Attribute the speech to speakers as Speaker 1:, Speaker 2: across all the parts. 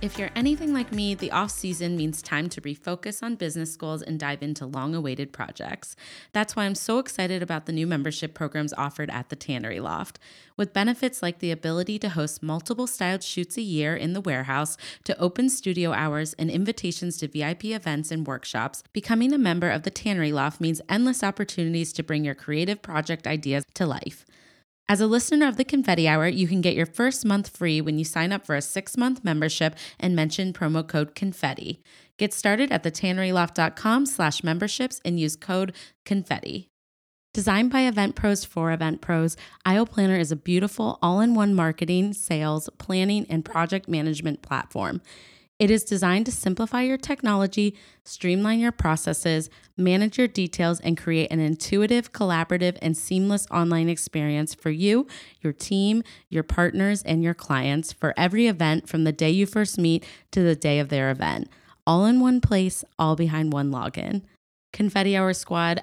Speaker 1: If you're anything like me, the off season means time to refocus on business goals and dive into long awaited projects. That's why I'm so excited about the new membership programs offered at the Tannery Loft. With benefits like the ability to host multiple styled shoots a year in the warehouse, to open studio hours, and invitations to VIP events and workshops, becoming a member of the Tannery Loft means endless opportunities to bring your creative project ideas to life. As a listener of the Confetti Hour, you can get your first month free when you sign up for a six month membership and mention promo code Confetti. Get started at thetanneryloft.com slash memberships and use code Confetti. Designed by Event Pros for Event Pros, IO Planner is a beautiful all in one marketing, sales, planning, and project management platform. It is designed to simplify your technology, streamline your processes, manage your details, and create an intuitive, collaborative, and seamless online experience for you, your team, your partners, and your clients for every event from the day you first meet to the day of their event. All in one place, all behind one login. Confetti Hour Squad,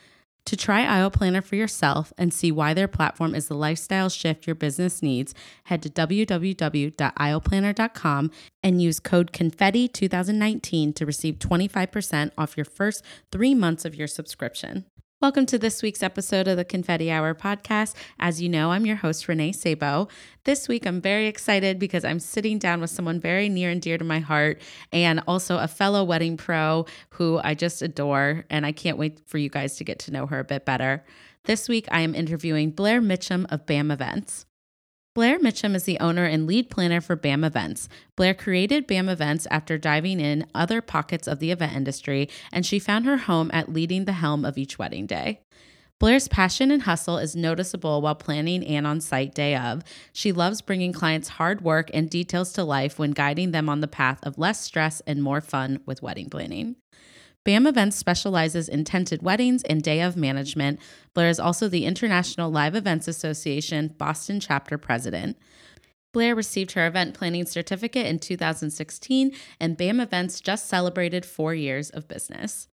Speaker 1: To try IO Planner for yourself and see why their platform is the lifestyle shift your business needs, head to www.ioplanner.com and use code CONFETTI2019 to receive 25% off your first three months of your subscription. Welcome to this week's episode of the Confetti Hour podcast. As you know, I'm your host, Renee Sabo. This week, I'm very excited because I'm sitting down with someone very near and dear to my heart and also a fellow wedding pro who I just adore. And I can't wait for you guys to get to know her a bit better. This week, I am interviewing Blair Mitchum of BAM Events. Blair Mitchum is the owner and lead planner for BAM Events. Blair created BAM Events after diving in other pockets of the event industry, and she found her home at leading the helm of each wedding day. Blair's passion and hustle is noticeable while planning and on site day of. She loves bringing clients hard work and details to life when guiding them on the path of less stress and more fun with wedding planning. BAM Events specializes in tented weddings and day of management. Blair is also the International Live Events Association Boston chapter president. Blair received her event planning certificate in 2016, and BAM Events just celebrated four years of business.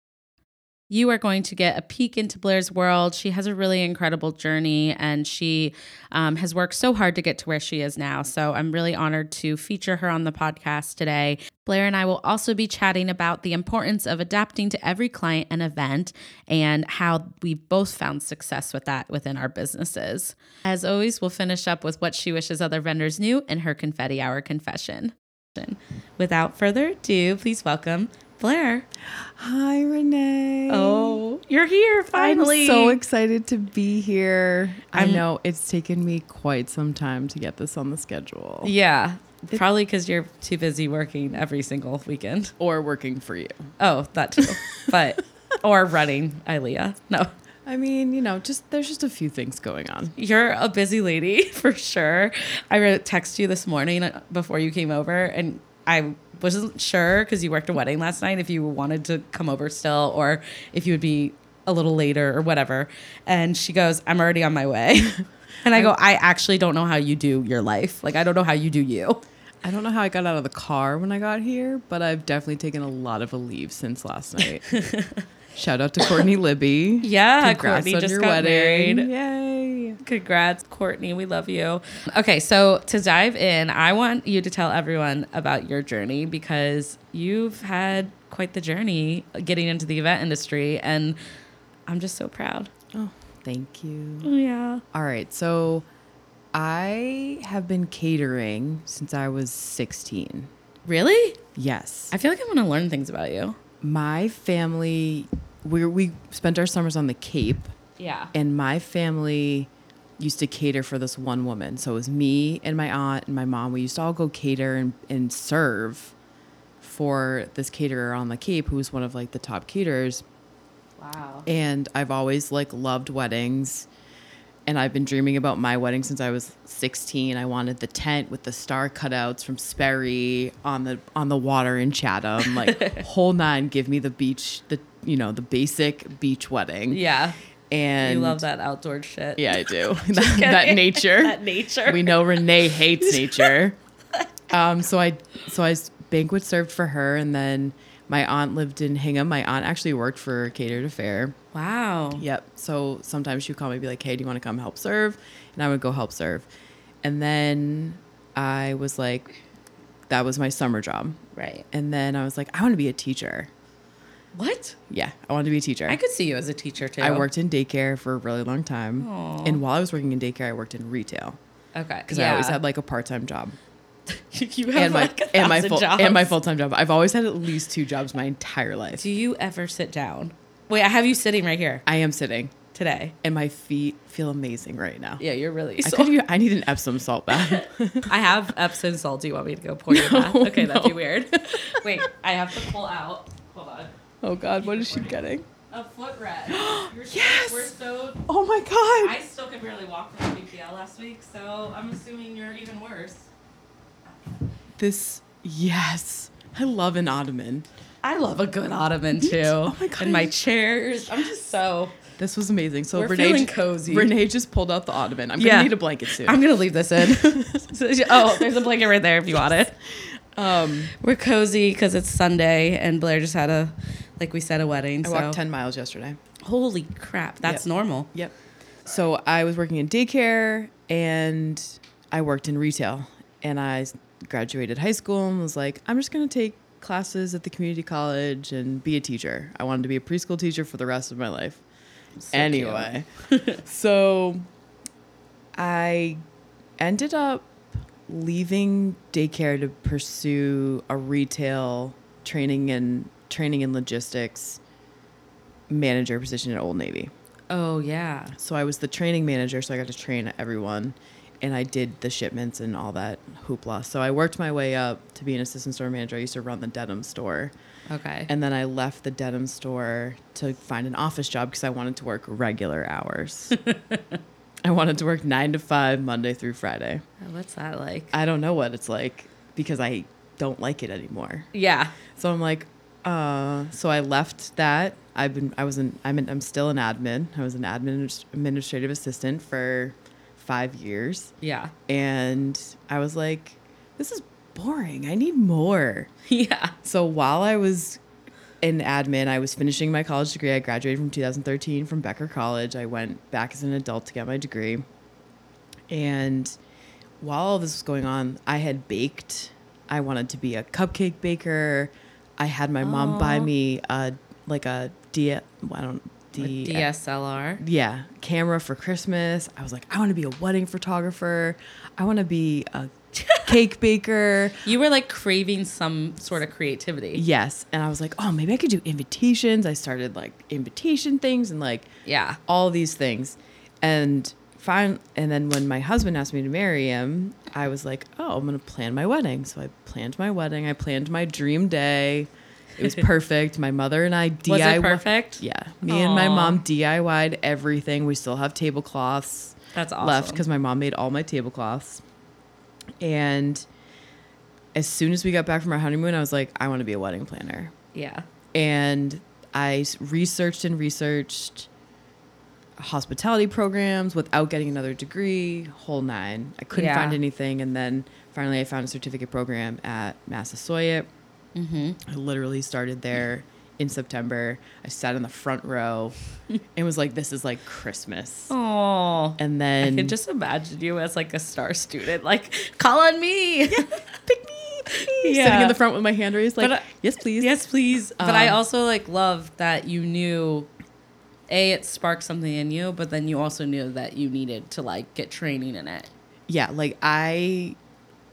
Speaker 1: You are going to get a peek into Blair's world. She has a really incredible journey and she um, has worked so hard to get to where she is now. So I'm really honored to feature her on the podcast today. Blair and I will also be chatting about the importance of adapting to every client and event and how we both found success with that within our businesses. As always, we'll finish up with what she wishes other vendors knew and her confetti hour confession. Without further ado, please welcome Blair.
Speaker 2: Hi, Renee.
Speaker 1: Oh, you're here finally.
Speaker 2: I'm so excited to be here. i know it's taken me quite some time to get this on the schedule
Speaker 1: Yeah. Probably because you're too busy working every single weekend.
Speaker 2: or working for you.
Speaker 1: Oh, that too. But, or running, Ilea. No,
Speaker 2: I mean, you know, just there's just a few things going on.
Speaker 1: you're a busy lady for sure. I wrote text you this morning before you came over, and I wasn't sure because you worked a wedding last night if you wanted to come over still or if you would be a little later or whatever. And she goes, I'm already on my way. And I go, I actually don't know how you do your life. Like, I don't know how you do you.
Speaker 2: I don't know how I got out of the car when I got here, but I've definitely taken a lot of a leave since last night. Shout out to Courtney Libby.
Speaker 1: Yeah,
Speaker 2: Congrats
Speaker 1: Courtney
Speaker 2: on
Speaker 1: just
Speaker 2: your
Speaker 1: got
Speaker 2: wedding.
Speaker 1: married.
Speaker 2: Yay.
Speaker 1: Congrats, Courtney. We love you. Okay, so to dive in, I want you to tell everyone about your journey because you've had quite the journey getting into the event industry, and I'm just so proud.
Speaker 2: Oh, thank you.
Speaker 1: Oh, Yeah.
Speaker 2: All right. So I have been catering since I was 16.
Speaker 1: Really?
Speaker 2: Yes.
Speaker 1: I feel like I want to learn things about you.
Speaker 2: My family, we, we spent our summers on the Cape,
Speaker 1: Yeah.
Speaker 2: and my family used to cater for this one woman. So it was me and my aunt and my mom. We used to all go cater and, and serve for this caterer on the Cape, who was one of like the top caterers
Speaker 1: Wow.
Speaker 2: and I've always like loved weddings and I've been dreaming about my wedding since I was 16. I wanted the tent with the star cutouts from Sperry on the on the water in Chatham, like whole nine. Give me the beach, the you know the basic beach wedding.
Speaker 1: Yeah.
Speaker 2: and
Speaker 1: you love that outdoor shit.
Speaker 2: Yeah, I do. that, that
Speaker 1: kidding.
Speaker 2: nature.
Speaker 1: That nature.
Speaker 2: We know Renee hates nature. Um, so I so I s- banquet served for her, and then my aunt lived in Hingham. My aunt actually worked for Catered Affair.
Speaker 3: Wow.
Speaker 2: Yep. So sometimes she would call me and be like, hey, do you want to come help serve? And I would go help serve. And then I was like, that was my summer job.
Speaker 1: Right.
Speaker 2: And then I was like, I want to be a teacher.
Speaker 1: What?
Speaker 2: Yeah, I want to be a teacher.
Speaker 1: I could see you as a teacher too.
Speaker 2: I worked in daycare for a really long time. And while I was working in daycare, I worked in retail
Speaker 1: Okay.
Speaker 2: because I always had like a part time job.
Speaker 1: you have
Speaker 2: And my,
Speaker 1: like a
Speaker 2: and my
Speaker 1: thousand
Speaker 2: full
Speaker 1: jobs.
Speaker 2: and my full time job. I've always had at least two jobs my entire life.
Speaker 1: Do you ever sit down? Wait, I have you sitting right here
Speaker 2: I am sitting,
Speaker 1: today.
Speaker 2: and my feet feel amazing right now.
Speaker 1: Yeah, you're really.
Speaker 2: I,
Speaker 1: sore.
Speaker 2: could, u- I need an Epsom salt bath.
Speaker 1: I have Epsom salt. Do you want me to go pour your bath? Okay, that'd be weird. Wait, I have to pull out. Hold on.
Speaker 2: Oh God, what is she getting?
Speaker 1: A foot red.
Speaker 2: Yes!
Speaker 1: We're
Speaker 2: we're
Speaker 1: so.
Speaker 2: Oh my God!
Speaker 1: I still could barely walk from BPL last week, so I'm assuming you're even worse.
Speaker 2: this yes, I love an ottoman.
Speaker 1: I love a good ottoman too. Oh
Speaker 2: my God.
Speaker 1: And my chairs. I'm just so.
Speaker 2: This was amazing. So
Speaker 1: We're
Speaker 2: Renee,
Speaker 1: feeling
Speaker 2: ju-
Speaker 1: cozy.
Speaker 2: Renee just pulled out the ottoman. I'm
Speaker 1: Yeah.
Speaker 2: gonna need a blanket soon.
Speaker 1: I'm gonna leave this in. oh, there's a blanket right there if you want it.
Speaker 2: um,
Speaker 1: We're cozy because it's Sunday, and Blair just had a, like we said, a wedding.
Speaker 2: I
Speaker 1: so.
Speaker 2: walked ten miles yesterday.
Speaker 1: Holy crap, that's
Speaker 2: Yep.
Speaker 1: normal.
Speaker 2: Yep. So I was working in daycare and I worked in retail. And I s- graduated high school and was like, I'm just going to take classes at the community college and be a teacher. I wanted to be a preschool teacher for the rest of my life. anyway, so I ended up leaving daycare to pursue a retail training and training and logistics manager position at Old Navy.
Speaker 1: Oh yeah.
Speaker 2: So I was the training manager, so I got to train everyone, and I did the shipments and all that hoopla. So I worked my way up to be an assistant store manager. I used to run the denim store,
Speaker 1: Okay.
Speaker 2: and then I left the denim store to find an office job because I wanted to work regular hours. I wanted to work nine to five Monday through Friday.
Speaker 1: Oh, What's that like?
Speaker 2: I don't know what it's like because I don't like it anymore.
Speaker 1: yeah.
Speaker 2: So I'm like, uh, so I left that. I've been, I was an, I'm, an, I'm still an admin. I was an admin administrative assistant for five years,
Speaker 1: Yeah.
Speaker 2: and I was like, this is boring. I need more.
Speaker 1: Yeah.
Speaker 2: So while I was in admin, I was finishing my college degree. I graduated from 2013 from Becker College. I went back as an adult to get my degree. And while all this was going on, I had baked. I wanted to be a cupcake baker. I had my mom buy me a like a D I don't D
Speaker 1: DSLR.
Speaker 2: yeah, camera for Christmas. I was like, I want to be a wedding photographer. I want to be a cake baker.
Speaker 1: You were like craving some sort of creativity.
Speaker 2: Yes. And I was like, oh, maybe I could do invitations. I started like invitation things and like
Speaker 1: Yeah.
Speaker 2: all these things. And fine and then when my husband asked me to marry him, I was like, Oh, I'm gonna plan my wedding. So I planned my wedding. I planned my dream day. It was perfect. My mother and I DIY
Speaker 1: Was it perfect?
Speaker 2: Yeah. Me and my
Speaker 1: Aw.
Speaker 2: mom DIY'd everything. We still have tablecloths
Speaker 1: That's
Speaker 2: left
Speaker 1: awesome.
Speaker 2: because my mom made all my tablecloths. And as soon as we got back from our honeymoon, I was like, I want to be a wedding planner.
Speaker 1: Yeah.
Speaker 2: And I s- researched and researched hospitality programs without getting another degree, whole nine. I couldn't
Speaker 1: Yeah.
Speaker 2: find anything. And then finally, I found a certificate program at Massasoit.
Speaker 1: Mm-hmm.
Speaker 2: I literally started there in September. I sat in the front row and was like, this is like Christmas.
Speaker 1: Oh.
Speaker 2: And
Speaker 1: I
Speaker 2: then
Speaker 1: can just imagine you as like a star student, like call on me.
Speaker 2: pick me, pick me.
Speaker 1: Yeah.
Speaker 2: Sitting in the front with my hand raised, like,
Speaker 1: But, uh,
Speaker 2: yes, please.
Speaker 1: yes, please. but I
Speaker 2: Um,
Speaker 1: also like love that you knew. A, it sparked something in you, but then you also knew that you needed to like get training in it.
Speaker 2: Yeah, like I,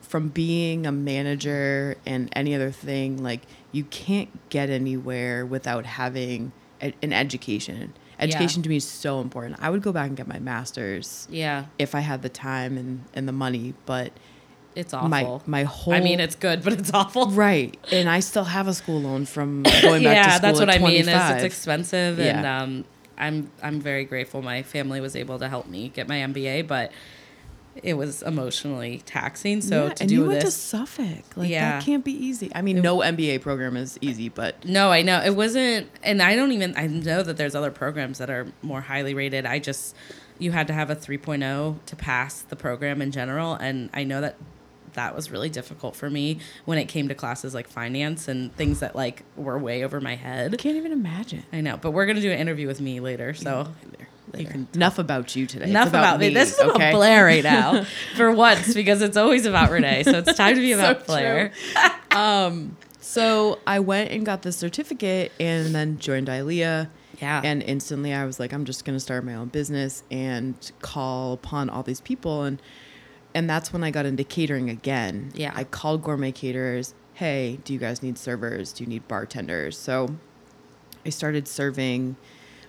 Speaker 2: from being a manager and any other thing, like you can't get anywhere without having a, an education. Education to me is so important. I would go back and get my master's
Speaker 1: Yeah,
Speaker 2: if I had the time and, and the money, but
Speaker 1: it's awful.
Speaker 2: my whole-
Speaker 1: I mean, it's good, but it's awful.
Speaker 2: right. And I still have a school loan from going back to school.
Speaker 1: that's
Speaker 2: at
Speaker 1: what I mean. Is
Speaker 2: 25.
Speaker 1: it's expensive, and
Speaker 2: Yeah.
Speaker 1: um, I'm I'm very grateful my family was able to help me get my MBA, but it was emotionally taxing. So
Speaker 2: Yeah,
Speaker 1: to
Speaker 2: and
Speaker 1: do
Speaker 2: you went to
Speaker 1: this,
Speaker 2: Suffolk. Like
Speaker 1: Yeah.
Speaker 2: that can't be easy. I mean, no MBA program is easy, but
Speaker 1: No, I know. It wasn't and I don't even I know that there's other programs that are more highly rated. I just you had to have a 3.0 to pass the program in general and I know that that was really difficult for me when it came to classes like finance and things that like were way over my
Speaker 2: I
Speaker 1: head.
Speaker 2: can't even imagine.
Speaker 1: I know, but we're going to do an interview with me later, so you can
Speaker 2: Enough about you today. It's
Speaker 1: Enough about, me. This is about
Speaker 2: okay?
Speaker 1: Blair right now, for once, because it's always about Renee. So it's time to be about
Speaker 2: true.
Speaker 1: Blair.
Speaker 2: So I went and got the certificate and then joined ILEA.
Speaker 1: Yeah.
Speaker 2: And instantly I was like, I'm just gonna start my own business and call upon all these people and and that's when I got into catering again.
Speaker 1: Yeah.
Speaker 2: I called gourmet caterers, hey, do you guys need servers? Do you need bartenders? So I started serving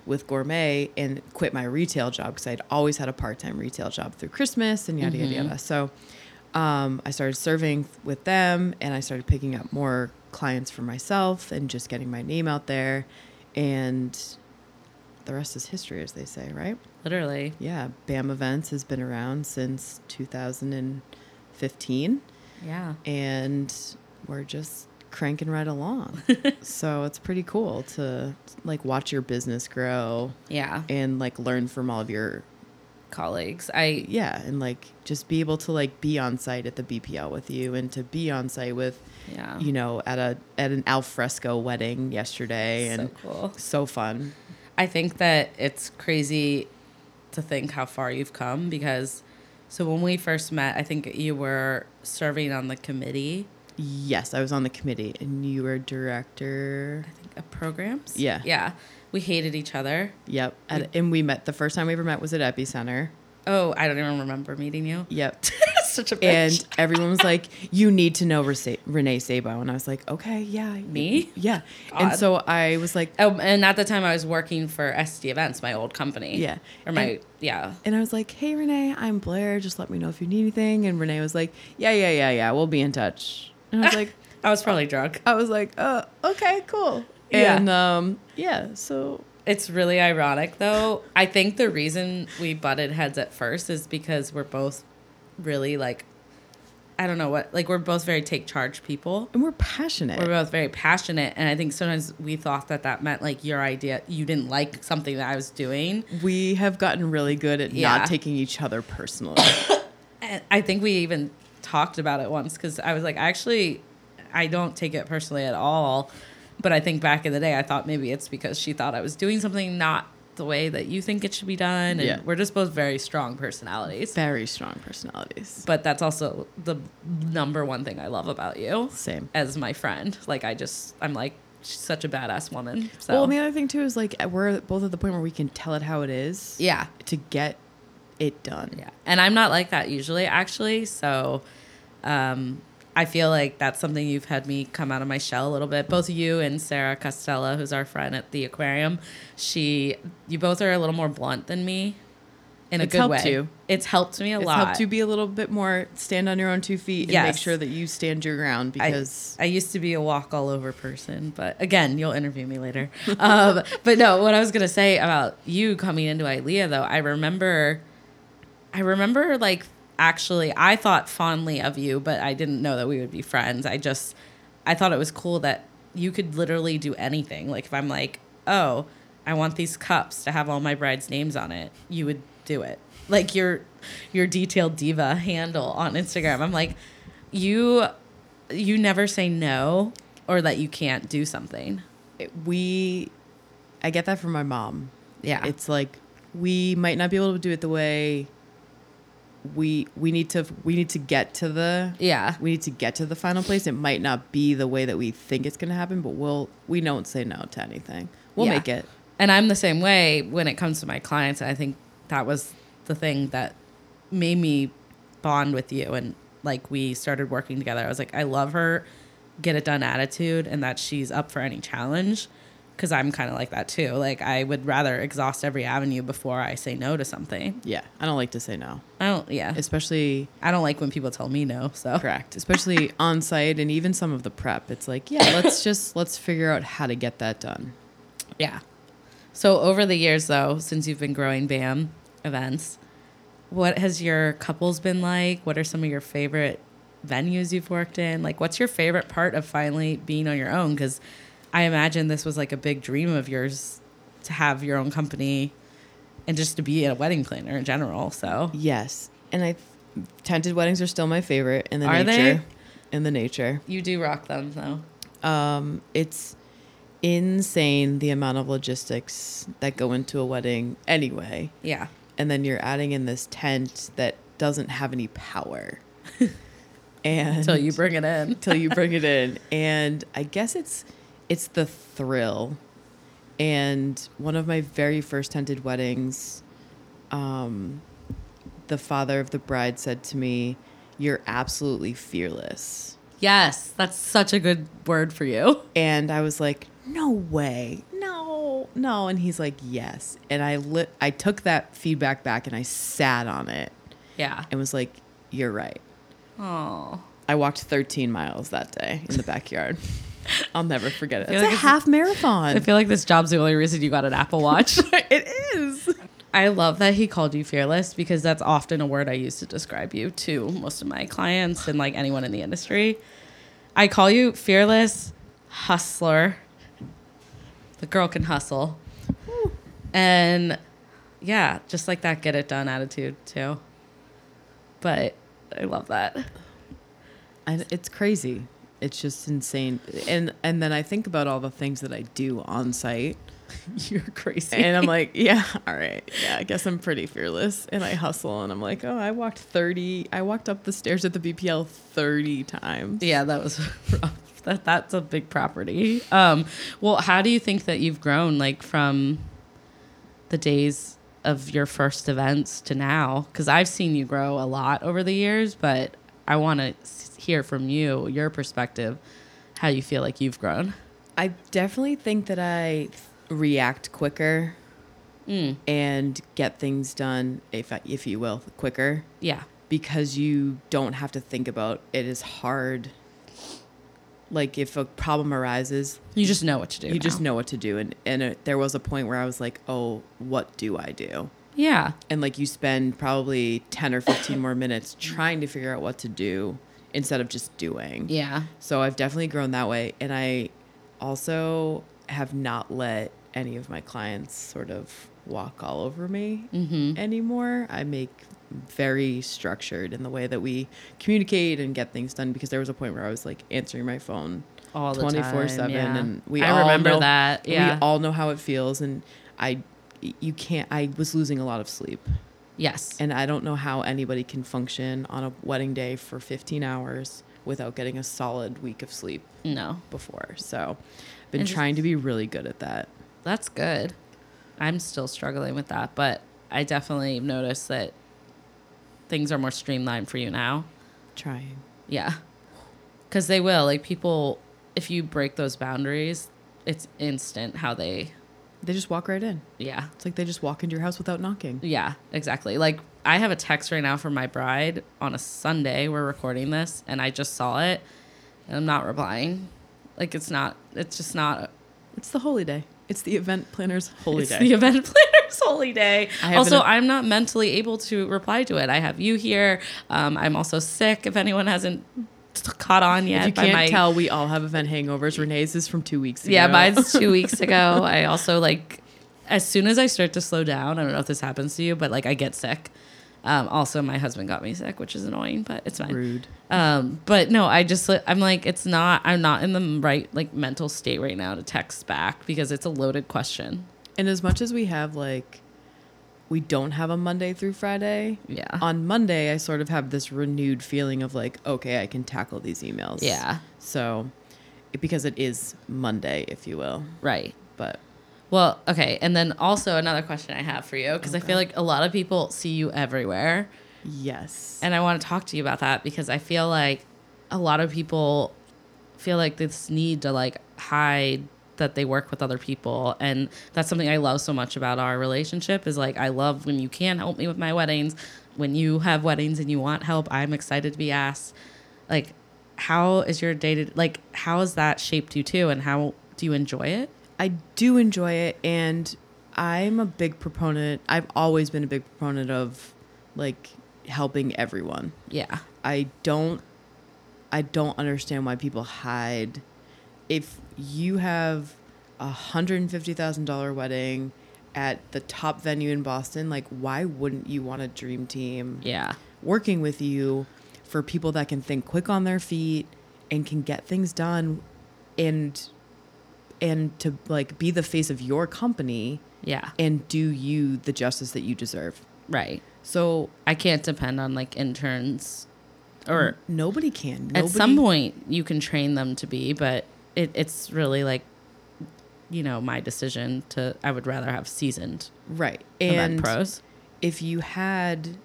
Speaker 2: with gourmet and quit my retail job because I'd always had a part time retail job through Christmas and yada,
Speaker 1: Mm-hmm.
Speaker 2: yada, yada. So um, I started serving with them and I started picking up more clients for myself and just getting my name out there. And the rest is history, as they say, right?
Speaker 1: Literally.
Speaker 2: Yeah. BAM Events has been around since 2015
Speaker 1: Yeah.
Speaker 2: and we're just cranking right along. so it's pretty cool to like watch your business grow
Speaker 1: Yeah.
Speaker 2: and like learn from all of your
Speaker 1: Colleagues. I,
Speaker 2: yeah, and like just be able to like be on site at the BPL with you and to be on site with
Speaker 1: Yeah.
Speaker 2: you know at a at an alfresco wedding yesterday
Speaker 1: So
Speaker 2: and
Speaker 1: cool.
Speaker 2: so fun.
Speaker 1: I think that it's crazy to think how far you've come because so when we first met, I think you were serving on the committee,
Speaker 2: Yes, I was on the committee and you were director.
Speaker 1: I think, of programs.
Speaker 2: Yeah.
Speaker 1: Yeah. We hated each other.
Speaker 2: Yep. At, and we met the first time we ever met was at Epicenter.
Speaker 1: Oh, I don't even remember meeting you.
Speaker 2: Yep.
Speaker 1: Such a bitch.
Speaker 2: and everyone was like, "You need to know Rese- Renee Sabo," and I was like, "Okay, yeah,
Speaker 1: Me?
Speaker 2: yeah." And
Speaker 1: God.
Speaker 2: so I was like,
Speaker 1: Oh, and at the time I was working for SD Events, my old company.
Speaker 2: Yeah.
Speaker 1: Or my
Speaker 2: And-
Speaker 1: yeah.
Speaker 2: and I was like, "Hey, Renee, I'm Blair. Just let me know if you need anything." And Renee was like, "Yeah, yeah, yeah, yeah. We'll be in touch." And I was like,
Speaker 1: I was probably drunk.
Speaker 2: "I was like, uh, okay, cool."
Speaker 1: Yeah.
Speaker 2: And um, yeah. So
Speaker 1: It's really ironic though. I think the reason we butted heads at first is because we're both really like I don't know what like we're both very take charge people.
Speaker 2: and we're passionate.
Speaker 1: We're both very passionate and I think sometimes we thought that that meant like your idea you didn't like something that I was doing.
Speaker 2: we have gotten really good at
Speaker 1: Yeah.
Speaker 2: not taking each other personally.
Speaker 1: And I think we even talked about it once cuz I was like actually I don't take it personally at all. But I think back in the day I thought maybe it's because she thought I was doing something not the way that you think it should be done and
Speaker 2: Yeah.
Speaker 1: we're just both very strong personalities.
Speaker 2: Very strong personalities.
Speaker 1: but that's also the number one thing I love about you.
Speaker 2: Same.
Speaker 1: As my friend. Like, I just, I'm like, she's such a badass woman. So,
Speaker 2: Well, and the other thing too is like we're both at the point where we can tell it how it is.
Speaker 1: yeah.
Speaker 2: to get it done.
Speaker 1: Yeah. And I'm not like that usually, actually. So, um, I feel like that's something you've had me come out of my shell a little bit. Both you and Sarah Costella, who's our friend at the aquarium, she, you both are a little more blunt than me in a
Speaker 2: It's
Speaker 1: good
Speaker 2: helped
Speaker 1: way.
Speaker 2: you.
Speaker 1: It's helped me a
Speaker 2: It's
Speaker 1: lot.
Speaker 2: helped you be a little bit more stand on your own two feet and make
Speaker 1: Yes.
Speaker 2: sure that you stand your ground
Speaker 1: I-
Speaker 2: because
Speaker 1: I, used to be a walk all over person, but again, you'll interview me later. um, but no, what I was gonna say about you coming into ILEA though, I remember, I remember like actually, I thought fondly of you, but I didn't know that we would be friends. I just, I thought it was cool that you could literally do anything. Like if I'm like, oh, I want these cups to have all my bride's names on it, you would do it. Like your your detailed diva handle on Instagram. I'm like, you you never say no or that you can't do something.
Speaker 2: we I get that from my mom.
Speaker 1: Yeah.
Speaker 2: It's like we might not be able to do it the way we we need to we need to get to the
Speaker 1: Yeah.
Speaker 2: we need to get to the final place. It might not be the way that we think it's going to happen, but we'll we don't say no to anything. We'll
Speaker 1: Yeah.
Speaker 2: make it.
Speaker 1: And I'm the same way when it comes to my clients. And I think that was the thing that made me bond with you. And like we started working together, I was like, I love her get it done attitude and that she's up for any challenge. Cause I'm kind of like that too. Like I would rather exhaust every avenue before I say no to something.
Speaker 2: Yeah. I don't like to say no,
Speaker 1: I don't, yeah.
Speaker 2: especially
Speaker 1: I don't like when people tell me no. So,
Speaker 2: correct especially on site and even some of the prep it's like yeah let's just let's figure out how to get that done
Speaker 1: yeah. So over the years, though, since you've been growing BAM events, what has your couples been like? What are some of your favorite venues you've worked in? Like, what's your favorite part of finally being on your own? Because I imagine this was like a big dream of yours to have your own company and just to be a wedding planner in general. So
Speaker 2: Yes, and I tented weddings are still my favorite in the
Speaker 1: Are they?
Speaker 2: nature. In the nature,
Speaker 1: you do rock them, though.
Speaker 2: um, it's insane the amount of logistics that go into a wedding anyway,
Speaker 1: Yeah.
Speaker 2: and then you're adding in this tent that doesn't have any power, and
Speaker 1: Until you bring it in.
Speaker 2: till you bring it in. And I guess it's it's the thrill. And one of my very first tented weddings, um, the father of the bride said to me, "You're absolutely fearless."
Speaker 1: Yes, that's such a good word for you.
Speaker 2: And I was like, "No way, no, no." And he's like, "Yes." And I li- I took that feedback back and I sat on it
Speaker 1: Yeah.
Speaker 2: and was like, "You're right."
Speaker 1: Oh.
Speaker 2: I walked 13 miles that day in the backyard. I'll never forget it. It's
Speaker 1: feel
Speaker 2: a
Speaker 1: like it's-
Speaker 2: half marathon.
Speaker 1: I feel like this job's the only reason you got an Apple Watch.
Speaker 2: it is.
Speaker 1: I love that he called you fearless because that's often a word I use to describe you to most of my clients and like anyone in the industry. I call you fearless, hustler. The girl can hustle. And yeah, just like that get it done attitude too. But I love that.
Speaker 2: And it's crazy. It's just insane. And and then I think about all the things that I do on site,
Speaker 1: You're crazy.
Speaker 2: and I'm like, yeah, all right, yeah, I guess I'm pretty fearless. And I hustle, and I'm like, oh, I walked 30. I walked up the stairs at the BPL 30 times.
Speaker 1: Yeah, that was rough. That that's a big property. Um, well, how do you think that you've grown like from the days of your first events to now? Because I've seen you grow a lot over the years, but I want to hear from you your perspective, how you feel like you've grown.
Speaker 2: I definitely think that I react quicker Mm. and get things done, if I- if you will, quicker.
Speaker 1: Yeah,
Speaker 2: because you don't have to think about it as hard. Like if a problem arises,
Speaker 1: you just know what to do.
Speaker 2: you just
Speaker 1: now.
Speaker 2: know what to do. And and it, there was a point where I was like, oh, what do I do?
Speaker 1: Yeah,
Speaker 2: And like you spend probably ten or fifteen more minutes trying to figure out what to do instead of just doing.
Speaker 1: yeah,
Speaker 2: So I've definitely grown that way, and I also have not let any of my clients sort of walk all over me
Speaker 1: Mm-hmm.
Speaker 2: anymore. I make very structured in the way that we communicate and get things done because there was a point where I was like answering my phone
Speaker 1: all the time.
Speaker 2: 24/7
Speaker 1: yeah.
Speaker 2: and we
Speaker 1: I
Speaker 2: all
Speaker 1: remember
Speaker 2: know-
Speaker 1: that. Yeah.
Speaker 2: We all know how it feels and I you can't I was losing a lot of sleep
Speaker 1: yes.
Speaker 2: and I don't know how anybody can function on a wedding day for 15 hours without getting a solid week of sleep
Speaker 1: no.
Speaker 2: before. So I've been
Speaker 1: And just-
Speaker 2: trying to be really good at that.
Speaker 1: That's good. I'm still struggling with that, but I definitely noticed that things are more streamlined for you now.
Speaker 2: Trying.
Speaker 1: Yeah. Cuz they will. Like people if you break those boundaries, it's instant how they
Speaker 2: They just walk right in.
Speaker 1: yeah.
Speaker 2: It's like they just walk into your house without knocking.
Speaker 1: Yeah, exactly. Like I have a text right now from my bride on a Sunday. We're recording this, and I just saw it, and I'm not replying. Like it's not. It's just not.
Speaker 2: It's the holy day. It's the event planner's holy
Speaker 1: it's
Speaker 2: day.
Speaker 1: the event planner's holy day.
Speaker 2: I have
Speaker 1: Also,
Speaker 2: an-
Speaker 1: I'm not mentally able to reply to it. I have you here. Um, I'm also sick. If anyone hasn't t- caught on yet,
Speaker 2: if you
Speaker 1: by
Speaker 2: can't
Speaker 1: my-
Speaker 2: tell, we all have event hangovers. Renee's is from two weeks ago.
Speaker 1: yeah, mine's two weeks ago. I also like as soon as I start to slow down. I don't know if this happens to you, but like I get sick. Um, also, my husband got me sick, which is annoying, but it's fine.
Speaker 2: Rude.
Speaker 1: Um, but no, I just li- I'm like it's not. I'm not in the right like mental state right now to text back because it's a loaded question.
Speaker 2: And as much as we have like, we don't have a Monday through Friday.
Speaker 1: Yeah.
Speaker 2: On Monday, I sort of have this renewed feeling of like, okay, I can tackle these emails.
Speaker 1: Yeah.
Speaker 2: So, it, because it is Monday, if you will,
Speaker 1: Right.
Speaker 2: but
Speaker 1: Well, okay. And then also another question I have for you because I feel like a lot of people see you everywhere.
Speaker 2: yes,
Speaker 1: And I want to talk to you about that because I feel like a lot of people feel like this need to like hide that they work with other people and that's something I love so much about our relationship is like I love when you can help me with my weddings, when you have weddings and you want help, I'm excited to be asked. Like how is your day to like how has that shaped you too and how do you enjoy it?
Speaker 2: I do enjoy it, and I'm a big proponent. I've always been a big proponent of like helping everyone.
Speaker 1: Yeah.
Speaker 2: I don't I don't understand why people hide if you have a hundred and fifty thousand dollar wedding at the top venue in Boston, like why wouldn't you want a dream team
Speaker 1: Yeah.
Speaker 2: working with you for people that can think quick on their feet and can get things done and and to like be the face of your company
Speaker 1: Yeah.
Speaker 2: and do you the justice that you deserve.
Speaker 1: Right.
Speaker 2: So
Speaker 1: I can't depend on like interns or
Speaker 2: nobody can. Nobody,
Speaker 1: at some point you can train them to be, but it, it's really like you know, my decision to I would rather have seasoned
Speaker 2: right?
Speaker 1: event
Speaker 2: And
Speaker 1: pros.
Speaker 2: if you had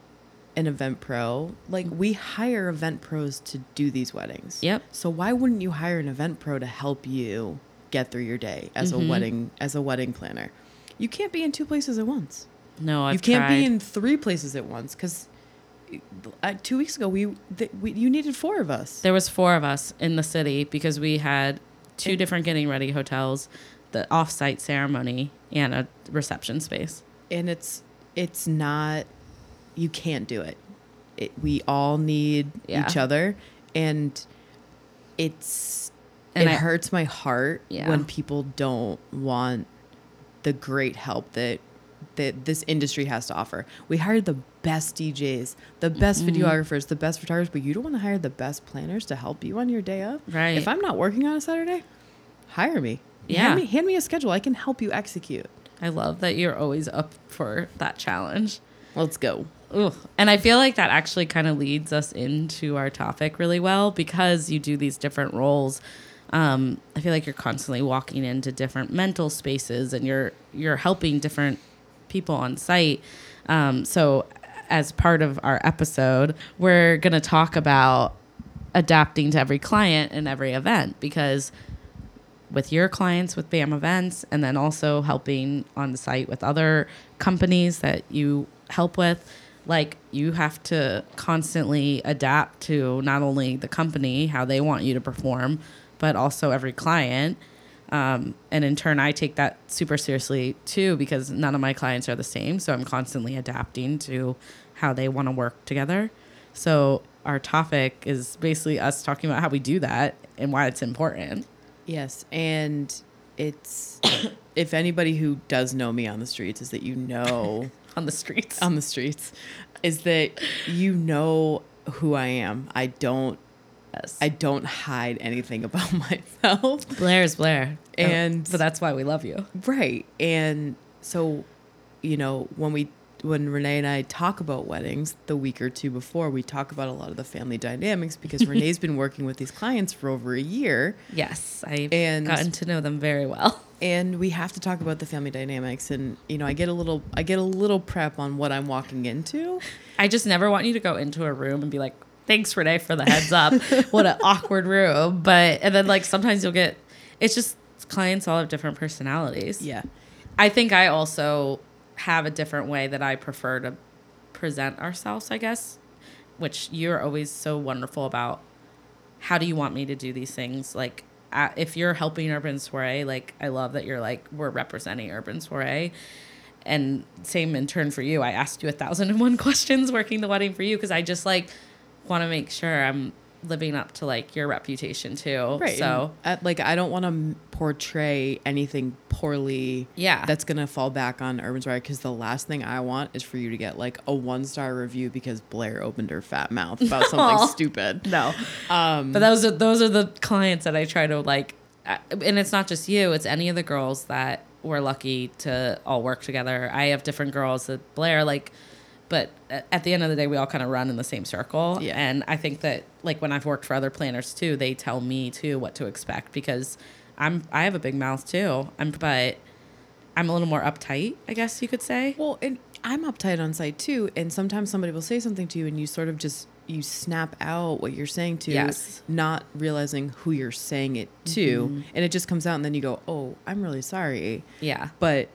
Speaker 2: an event pro, like we hire event pros to do these weddings.
Speaker 1: Yep.
Speaker 2: So why wouldn't you hire an event pro to help you get through your day as
Speaker 1: Mm-hmm.
Speaker 2: a wedding as a wedding planner? You can't be in two places at once.
Speaker 1: No, I've
Speaker 2: you can't
Speaker 1: tried.
Speaker 2: be in three places at once because uh, two weeks ago we, th- we you needed four of us.
Speaker 1: There was four of us in the city because we had two different getting ready hotels, the offsite ceremony, and a reception space.
Speaker 2: and it's it's not you can't do it, it we all need
Speaker 1: Yeah.
Speaker 2: each other and it's
Speaker 1: And
Speaker 2: it
Speaker 1: I-
Speaker 2: hurts my heart
Speaker 1: Yeah.
Speaker 2: when people don't want the great help that that this industry has to offer we hired the best djs the best
Speaker 1: Mm-hmm.
Speaker 2: videographers the best photographers but you don't want to hire the best planners to help you on your day of
Speaker 1: Right.
Speaker 2: if i'm not working on a saturday hire me
Speaker 1: Yeah.
Speaker 2: hand me, hand me a schedule i can help you execute
Speaker 1: I love that you're always up for that challenge.
Speaker 2: let's go
Speaker 1: Ugh. And I feel like that actually kind of leads us into our topic really well because you do these different roles. Um, I feel like you're constantly walking into different mental spaces and you're you're helping different people on site. Um, so as part of our episode, we're gonna talk about adapting to every client and every event because with your clients with BAM events and then also helping on the site with other companies that you help with. Like you have to constantly adapt to not only the company, how they want you to perform, but also every client. Um, and in turn, I take that super seriously too because none of my clients are the same. So I'm constantly adapting to how they want to work together. So our topic is basically us talking about how we do that and why it's important.
Speaker 2: Yes, and it's if anybody who does know me on the streets is that you know
Speaker 1: on the streets.
Speaker 2: on the streets is that you know who I am. I don't
Speaker 1: yes.
Speaker 2: I don't hide anything about myself.
Speaker 1: Blair is Blair.
Speaker 2: And-
Speaker 1: so Oh. that's why we love you.
Speaker 2: Right. And so, you know, when we when Renee and I talk about weddings the week or two before, we talk about a lot of the family dynamics because Renee's been working with these clients for over a year.
Speaker 1: Yes, I've
Speaker 2: And-
Speaker 1: gotten to know them very well.
Speaker 2: and we have to talk about the family dynamics and you know i get a little i get a little prep on what i'm walking into
Speaker 1: I just never want you to go into a room and be like, "Thanks, Renee, for the heads up." what an awkward room. But and then like sometimes you'll get, it's just clients all have different personalities.
Speaker 2: yeah
Speaker 1: I think I also have a different way that I prefer to present ourselves, I guess, which you're always so wonderful about. How do you want me to do these things? Like, I- if you're helping Urban Soiree, like, I love that you're like, we're representing Urban Soiree. And same in turn for you. I asked you a thousand and one questions working the wedding for you because I just like want to make sure I'm living up to like your reputation too.
Speaker 2: right
Speaker 1: So,
Speaker 2: And, uh, like i don't want to portray anything poorly
Speaker 1: Yeah.
Speaker 2: that's gonna fall back on urban Soiree because the last thing i want is for you to get like a one star review because blair opened her fat mouth about something stupid Um, no
Speaker 1: But those are those are the clients that I try to like, I- and it's not just you; it's any of the girls that we're lucky to all work together. I have different girls that Blair like, but a- at the end of the day, we all kind of run in the same circle.
Speaker 2: Yeah.
Speaker 1: And I think that like when I've worked for other planners too, they tell me too what to expect because I'm I have a big mouth too. I'm but I'm a little more uptight, I guess you could say.
Speaker 2: Well, and I'm uptight on site too, and sometimes somebody will say something to you, and you sort of just you snap out what you're saying to,
Speaker 1: Yes. Mm-hmm.
Speaker 2: not realizing who you're saying it to, and it just comes out, and then you go, "Oh, I'm really sorry."
Speaker 1: Yeah.
Speaker 2: But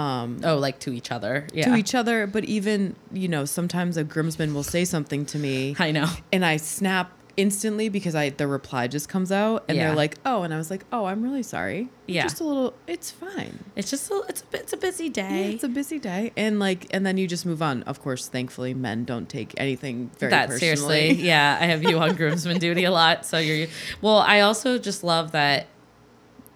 Speaker 1: Oh, like to each other. Yeah.
Speaker 2: to each other, but even you know, sometimes a groomsman will say something to me,
Speaker 1: I know.
Speaker 2: and I snap instantly because I the reply just comes out and
Speaker 1: Yeah.
Speaker 2: they're like, "Oh," and I was like, "Oh, I'm really sorry."
Speaker 1: Yeah.
Speaker 2: Just a little it's fine.
Speaker 1: It's just a, it's a, it's a busy
Speaker 2: Yeah,
Speaker 1: day.
Speaker 2: it's a busy day and like and then you just move on. Of course, thankfully men don't take anything very
Speaker 1: that
Speaker 2: personally.
Speaker 1: seriously yeah i have you on groomsman duty a lot so you're well i also just love that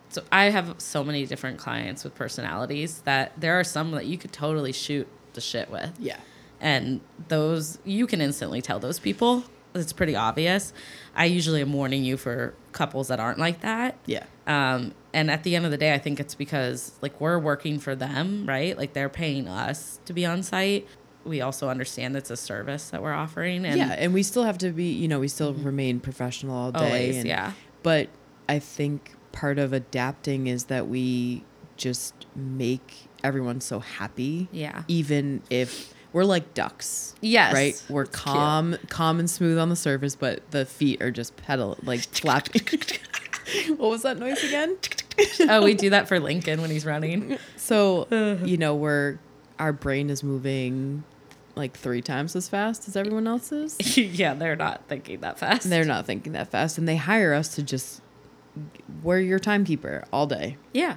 Speaker 1: so i have so many different clients with personalities that there are some that you could totally shoot the shit with
Speaker 2: Yeah.
Speaker 1: and those you can instantly tell those people it's pretty obvious i usually am warning you for couples that aren't like that
Speaker 2: Yeah.
Speaker 1: um, and at the end of the day, I think it's because like we're working for them, right? Like they're paying us to be on site. We also understand it's a service that we're offering. And Mm-hmm.
Speaker 2: yeah, and we still have to be, you know, we still remain professional all day.
Speaker 1: Always,
Speaker 2: and-
Speaker 1: yeah.
Speaker 2: But I think part of adapting is that we just make everyone so happy.
Speaker 1: Yeah.
Speaker 2: Even if we're like ducks.
Speaker 1: Yes.
Speaker 2: Right? We're calm, calm and smooth on the surface, but the feet are just pedal like flapping. what was that noise again?
Speaker 1: oh, we do that for Lincoln when he's running.
Speaker 2: So,
Speaker 1: Uh-huh.
Speaker 2: you know, we're our brain is moving like three times as fast as everyone else's.
Speaker 1: yeah, they're not thinking that fast.
Speaker 2: They're not thinking that fast, and they hire us to just we're your timekeeper all day.
Speaker 1: yeah.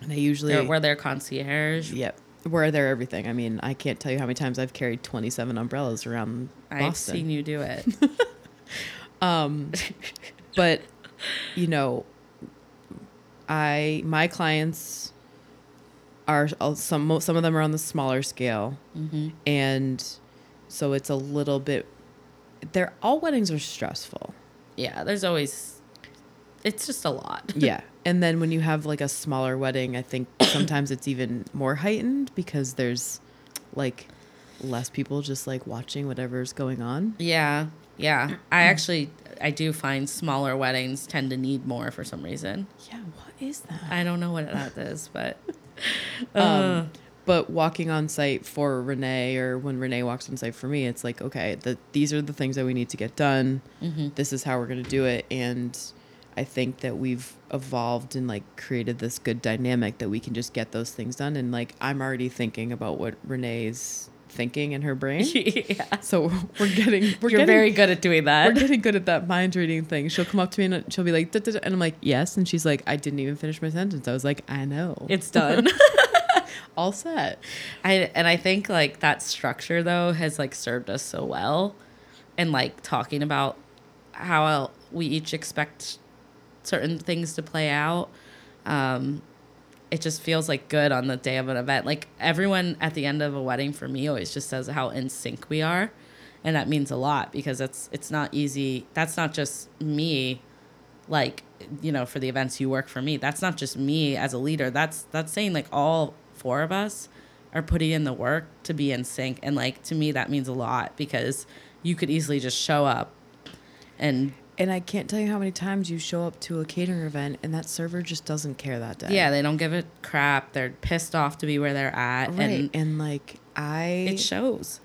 Speaker 2: And they usually
Speaker 1: They're, we're their concierge.
Speaker 2: yep, we're there everything. I mean, I can't tell you how many times I've carried twenty seven umbrellas around
Speaker 1: I've
Speaker 2: Boston.
Speaker 1: seen you do it.
Speaker 2: but you know, I my clients are all- some mo- some of them are on the smaller scale, and so it's a little bit. They're all weddings are stressful.
Speaker 1: yeah, there's always, it's just a lot.
Speaker 2: yeah and then when you have like a smaller wedding i think sometimes it's even more heightened because there's like less people just like watching whatever's going on
Speaker 1: Yeah, yeah. I actually, I do find smaller weddings tend to need more for some reason.
Speaker 2: yeah what is that
Speaker 1: I don't know what that is, but
Speaker 2: Um,
Speaker 1: Uh.
Speaker 2: but walking on site for renee or when renee walks on site for me it's like okay the, these are the things that we need to get done
Speaker 1: Mm-hmm.
Speaker 2: this is how we're going to do it and i think that we've evolved and like created this good dynamic that we can just get those things done and like i'm already thinking about what renee's thinking in her brain
Speaker 1: yeah.
Speaker 2: So we're getting we're
Speaker 1: You're
Speaker 2: getting,
Speaker 1: very good at doing
Speaker 2: we're
Speaker 1: that.
Speaker 2: getting good at that mind reading thing. She'll come up to me and she'll be like, "Duh, duh, duh," and I'm like, yes, and she's like, I didn't even finish my sentence. I was like, I know,
Speaker 1: It's done.
Speaker 2: all set.
Speaker 1: I and I think like that structure though has like served us so well, and like talking about how we each expect certain things to play out. Um, it just feels like good on the day of an event. Like everyone at the end of a wedding for me always just says how in sync we are, and that means a lot because it's it's not easy. That's not just me, like you know, for the events you work for me. That's not just me as a leader. That's that's saying like all four of us are putting in the work to be in sync, and like to me that means a lot because you could easily just show up and
Speaker 2: And I can't tell you how many times you show up to a catering event and that server just doesn't care that day.
Speaker 1: yeah, they don't give a crap. They're pissed off to be where they're at,
Speaker 2: right. And,
Speaker 1: and
Speaker 2: like I,
Speaker 1: it shows.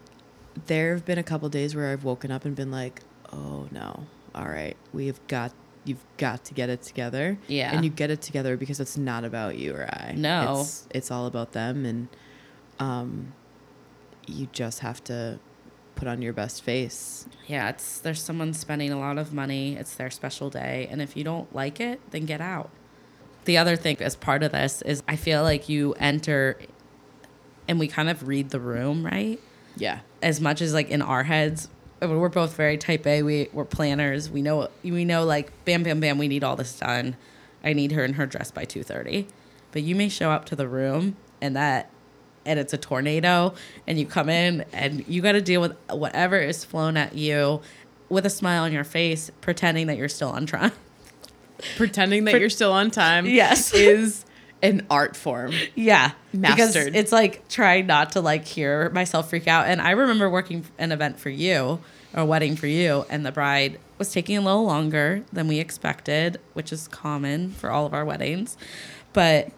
Speaker 2: there have been a couple days where I've woken up and been like, oh no, all right, we've got. You've got to get it together.
Speaker 1: Yeah.
Speaker 2: And you get it together because it's not about you or I.
Speaker 1: No.
Speaker 2: It's, it's all about them. And um, you just have to put on your best face.
Speaker 1: Yeah, it's there's someone spending a lot of money. It's their special day, and if you don't like it, then get out. The other thing as part of this is I feel like you enter and we kind of read the room, right?
Speaker 2: Yeah.
Speaker 1: as much as like in our heads I mean, we're both very type a we, we're planners we know we know like bam bam bam we need all this done i need her in her dress by 2.30 but you may show up to the room and that and it's a tornado and you come in and you got to deal with whatever is flown at you with a smile on your face pretending that you're still on time
Speaker 2: Pretending that you're still on time
Speaker 1: Yes.
Speaker 2: is an art form.
Speaker 1: Yeah,
Speaker 2: Mastered.
Speaker 1: Because it's like trying not to like hear myself freak out. And I remember working an event for you, or a wedding for you, and the bride was taking a little longer than we expected, which is common for all of our weddings. But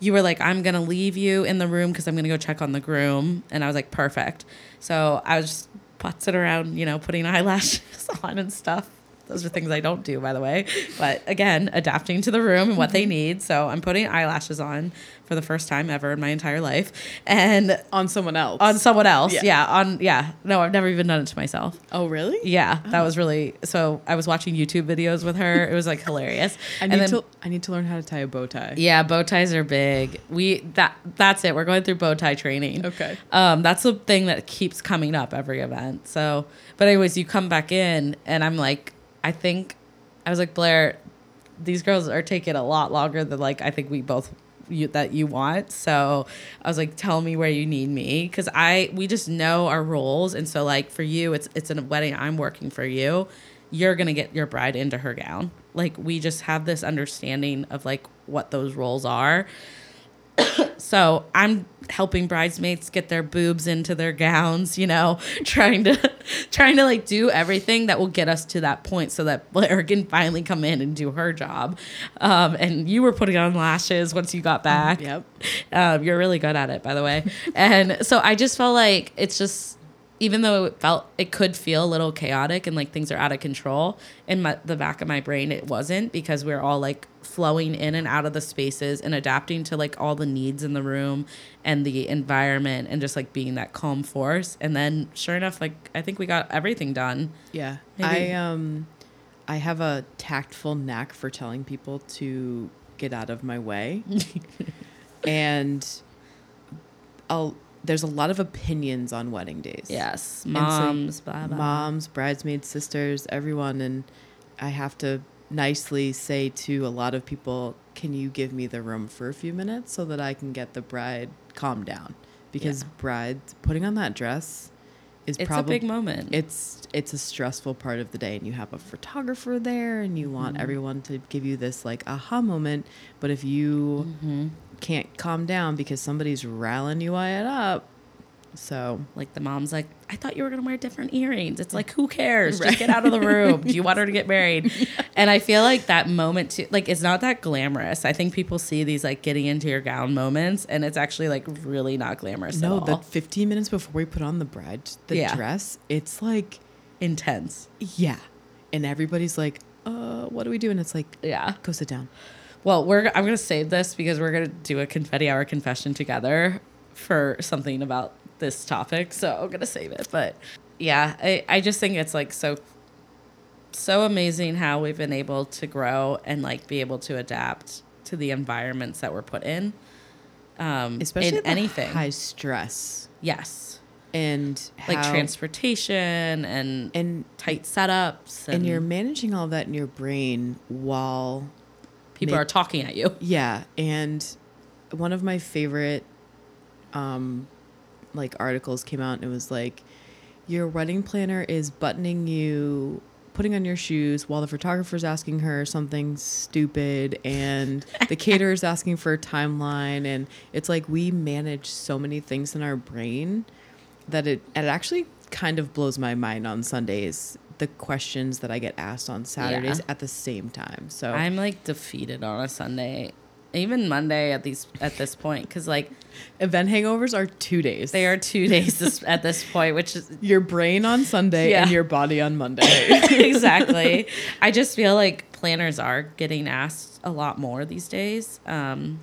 Speaker 1: you were like, "I'm gonna leave you in the room because I'm gonna go check on the groom," and I was like, "Perfect." So I was just putzing around, you know, putting eyelashes on and stuff. Those are things I don't do, by the way. But again, adapting to the room and what they
Speaker 2: Mm-hmm.
Speaker 1: need. So I'm putting eyelashes on for the first time ever in my entire life, and
Speaker 2: on someone else.
Speaker 1: on someone else.
Speaker 2: Yeah.
Speaker 1: Yeah. on yeah. No, I've never even done it to myself.
Speaker 2: oh, really?
Speaker 1: Yeah, that was really so. I was watching YouTube videos with her. It was like hilarious.
Speaker 2: I
Speaker 1: And
Speaker 2: need
Speaker 1: then-
Speaker 2: to. I need to learn how to tie a bow tie.
Speaker 1: yeah, bow ties are big. We that that's it. We're going through bow tie training.
Speaker 2: Okay.
Speaker 1: Um, that's the thing that keeps coming up every event. So, but anyways, you come back in, and I'm like, I think, I was like Blair, these girls are taking a lot longer than like I think we both you that you want. So I was like, tell me where you need me because I we just know our roles, and so like for you, it's it's in a wedding. I'm working for you. You're gonna get your bride into her gown. Like we just have this understanding of like what those roles are. So I'm helping bridesmaids get their boobs into their gowns, you know, trying to trying to like do everything that will get us to that point so that Blair can finally come in and do her job. Um, and you were putting on lashes once you got back.
Speaker 2: Yep.
Speaker 1: Um, you're really good at it, by the way. and so I just felt like it's just, even though it felt, it could feel a little chaotic and like things are out of control, in my, the back of my brain, it wasn't because we are all like flowing in and out of the spaces and adapting to like all the needs in the room and the environment and just like being that calm force. And then sure enough, like I think we got everything done.
Speaker 2: Yeah.
Speaker 1: Maybe-
Speaker 2: I um I have a tactful knack for telling people to get out of my way. and I'll, there's a lot of opinions on wedding days.
Speaker 1: Yes.
Speaker 2: so-
Speaker 1: Moms, blah, blah.
Speaker 2: Moms, bridesmaids, sisters, everyone and I have to nicely say to a lot of people, can you give me the room for a few minutes so that I can get the bride calmed down? Because brides putting on that dress is
Speaker 1: It's
Speaker 2: probably
Speaker 1: a big moment.
Speaker 2: it's it's a stressful part of the day and you have a photographer there and you want
Speaker 1: Mm-hmm.
Speaker 2: everyone to give you this like aha moment but if you
Speaker 1: Mm-hmm.
Speaker 2: can't calm down because somebody's rallying you it up so
Speaker 1: like the mom's like i thought you were going to wear different earrings it's like who cares just get out of the room do you want her to get married and i feel like that moment too like it's not that glamorous i think people see these like getting into your gown moments and it's actually like really not glamorous
Speaker 2: no
Speaker 1: at all
Speaker 2: the 15 minutes before we put on the bride the
Speaker 1: Yeah.
Speaker 2: dress it's like
Speaker 1: intense
Speaker 2: yeah and everybody's like uh what do we do and it's like
Speaker 1: yeah
Speaker 2: go sit down
Speaker 1: well we're i'm going to save this because we're going to do a confetti hour confession together for something about this topic so i'm going to save it but yeah I, I just think it's like so so amazing how we've been able to grow and like be able to adapt to the environments that we're put in um
Speaker 2: especially
Speaker 1: in
Speaker 2: the
Speaker 1: anything
Speaker 2: high stress
Speaker 1: yes
Speaker 2: and
Speaker 1: like
Speaker 2: how-
Speaker 1: transportation and,
Speaker 2: and
Speaker 1: tight setups and,
Speaker 2: and you're managing all that in your brain while
Speaker 1: people
Speaker 2: ma-
Speaker 1: are talking at you
Speaker 2: Yeah, and one of my favorite um like articles came out and it was like your wedding planner is buttoning you putting on your shoes while the photographer's asking her something stupid and the caterer's asking for a timeline and it's like we manage so many things in our brain that it it actually kind of blows my mind on Sundays the questions that I get asked on Saturdays
Speaker 1: Yeah.
Speaker 2: at the same time. So
Speaker 1: I'm like defeated on a Sunday, even Monday at these at this point, because like
Speaker 2: Event hangovers are two days.
Speaker 1: they are two days this, at this point, which is
Speaker 2: your brain on Sunday
Speaker 1: Yeah.
Speaker 2: and your body on Monday.
Speaker 1: exactly. I just feel like planners are getting asked a lot more these days. Um,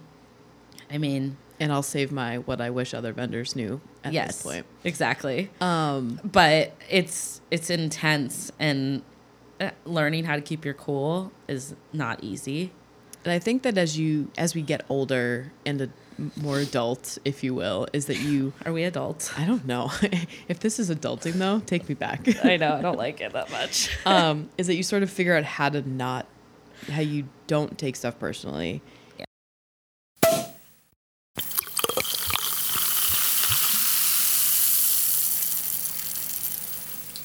Speaker 1: I mean,
Speaker 2: and I'll save my what I wish other vendors knew at
Speaker 1: yes,
Speaker 2: this point.
Speaker 1: exactly.
Speaker 2: Um,
Speaker 1: but it's it's intense and uh, learning how to keep your cool is not easy.
Speaker 2: and I think that as you as we get older and a, more adult, if you will, is that you
Speaker 1: Are we adults?
Speaker 2: I don't know. if this is adulting though, take me back.
Speaker 1: I know I don't like it that much.
Speaker 2: um, is that you sort of figure out how to not how you don't take stuff personally.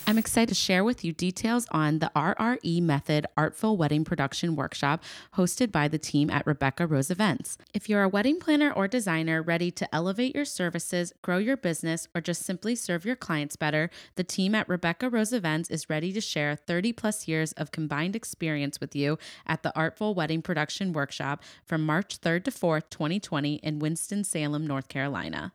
Speaker 3: I'm excited to share with you details on the RRE Method Artful Wedding Production Workshop hosted by the team at Rebecca Rose Events. If you're a wedding planner or designer ready to elevate your services, grow your business, or just simply serve your clients better, the team at Rebecca Rose Events is ready to share 30 plus years of combined experience with you at the Artful Wedding Production Workshop from March 3rd to 4th, 2020 in Winston-Salem, North Carolina.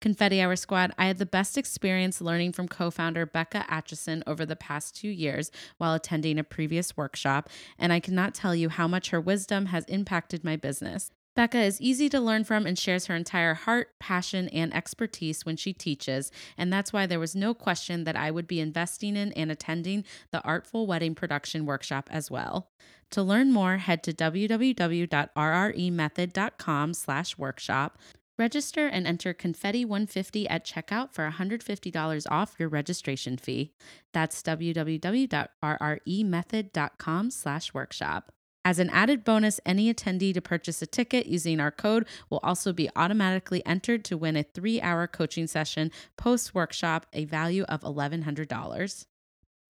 Speaker 3: Confetti Hour Squad, I had the best experience learning from co founder Becca Atchison over the past two years while attending a previous workshop, and I cannot tell you how much her wisdom has impacted my business. Becca is easy to learn from and shares her entire heart, passion, and expertise when she teaches, and that's why there was no question that I would be investing in and attending the Artful Wedding Production Workshop as well. To learn more, head to E www.rremethod.com slash workshop. Register and enter confetti150 at checkout for $150 off your registration fee. That's E www.rremethod.com slash workshop. As an added bonus, any attendee to purchase a ticket using our code will also be automatically entered to win a three hour coaching session post workshop, a value of $1,100.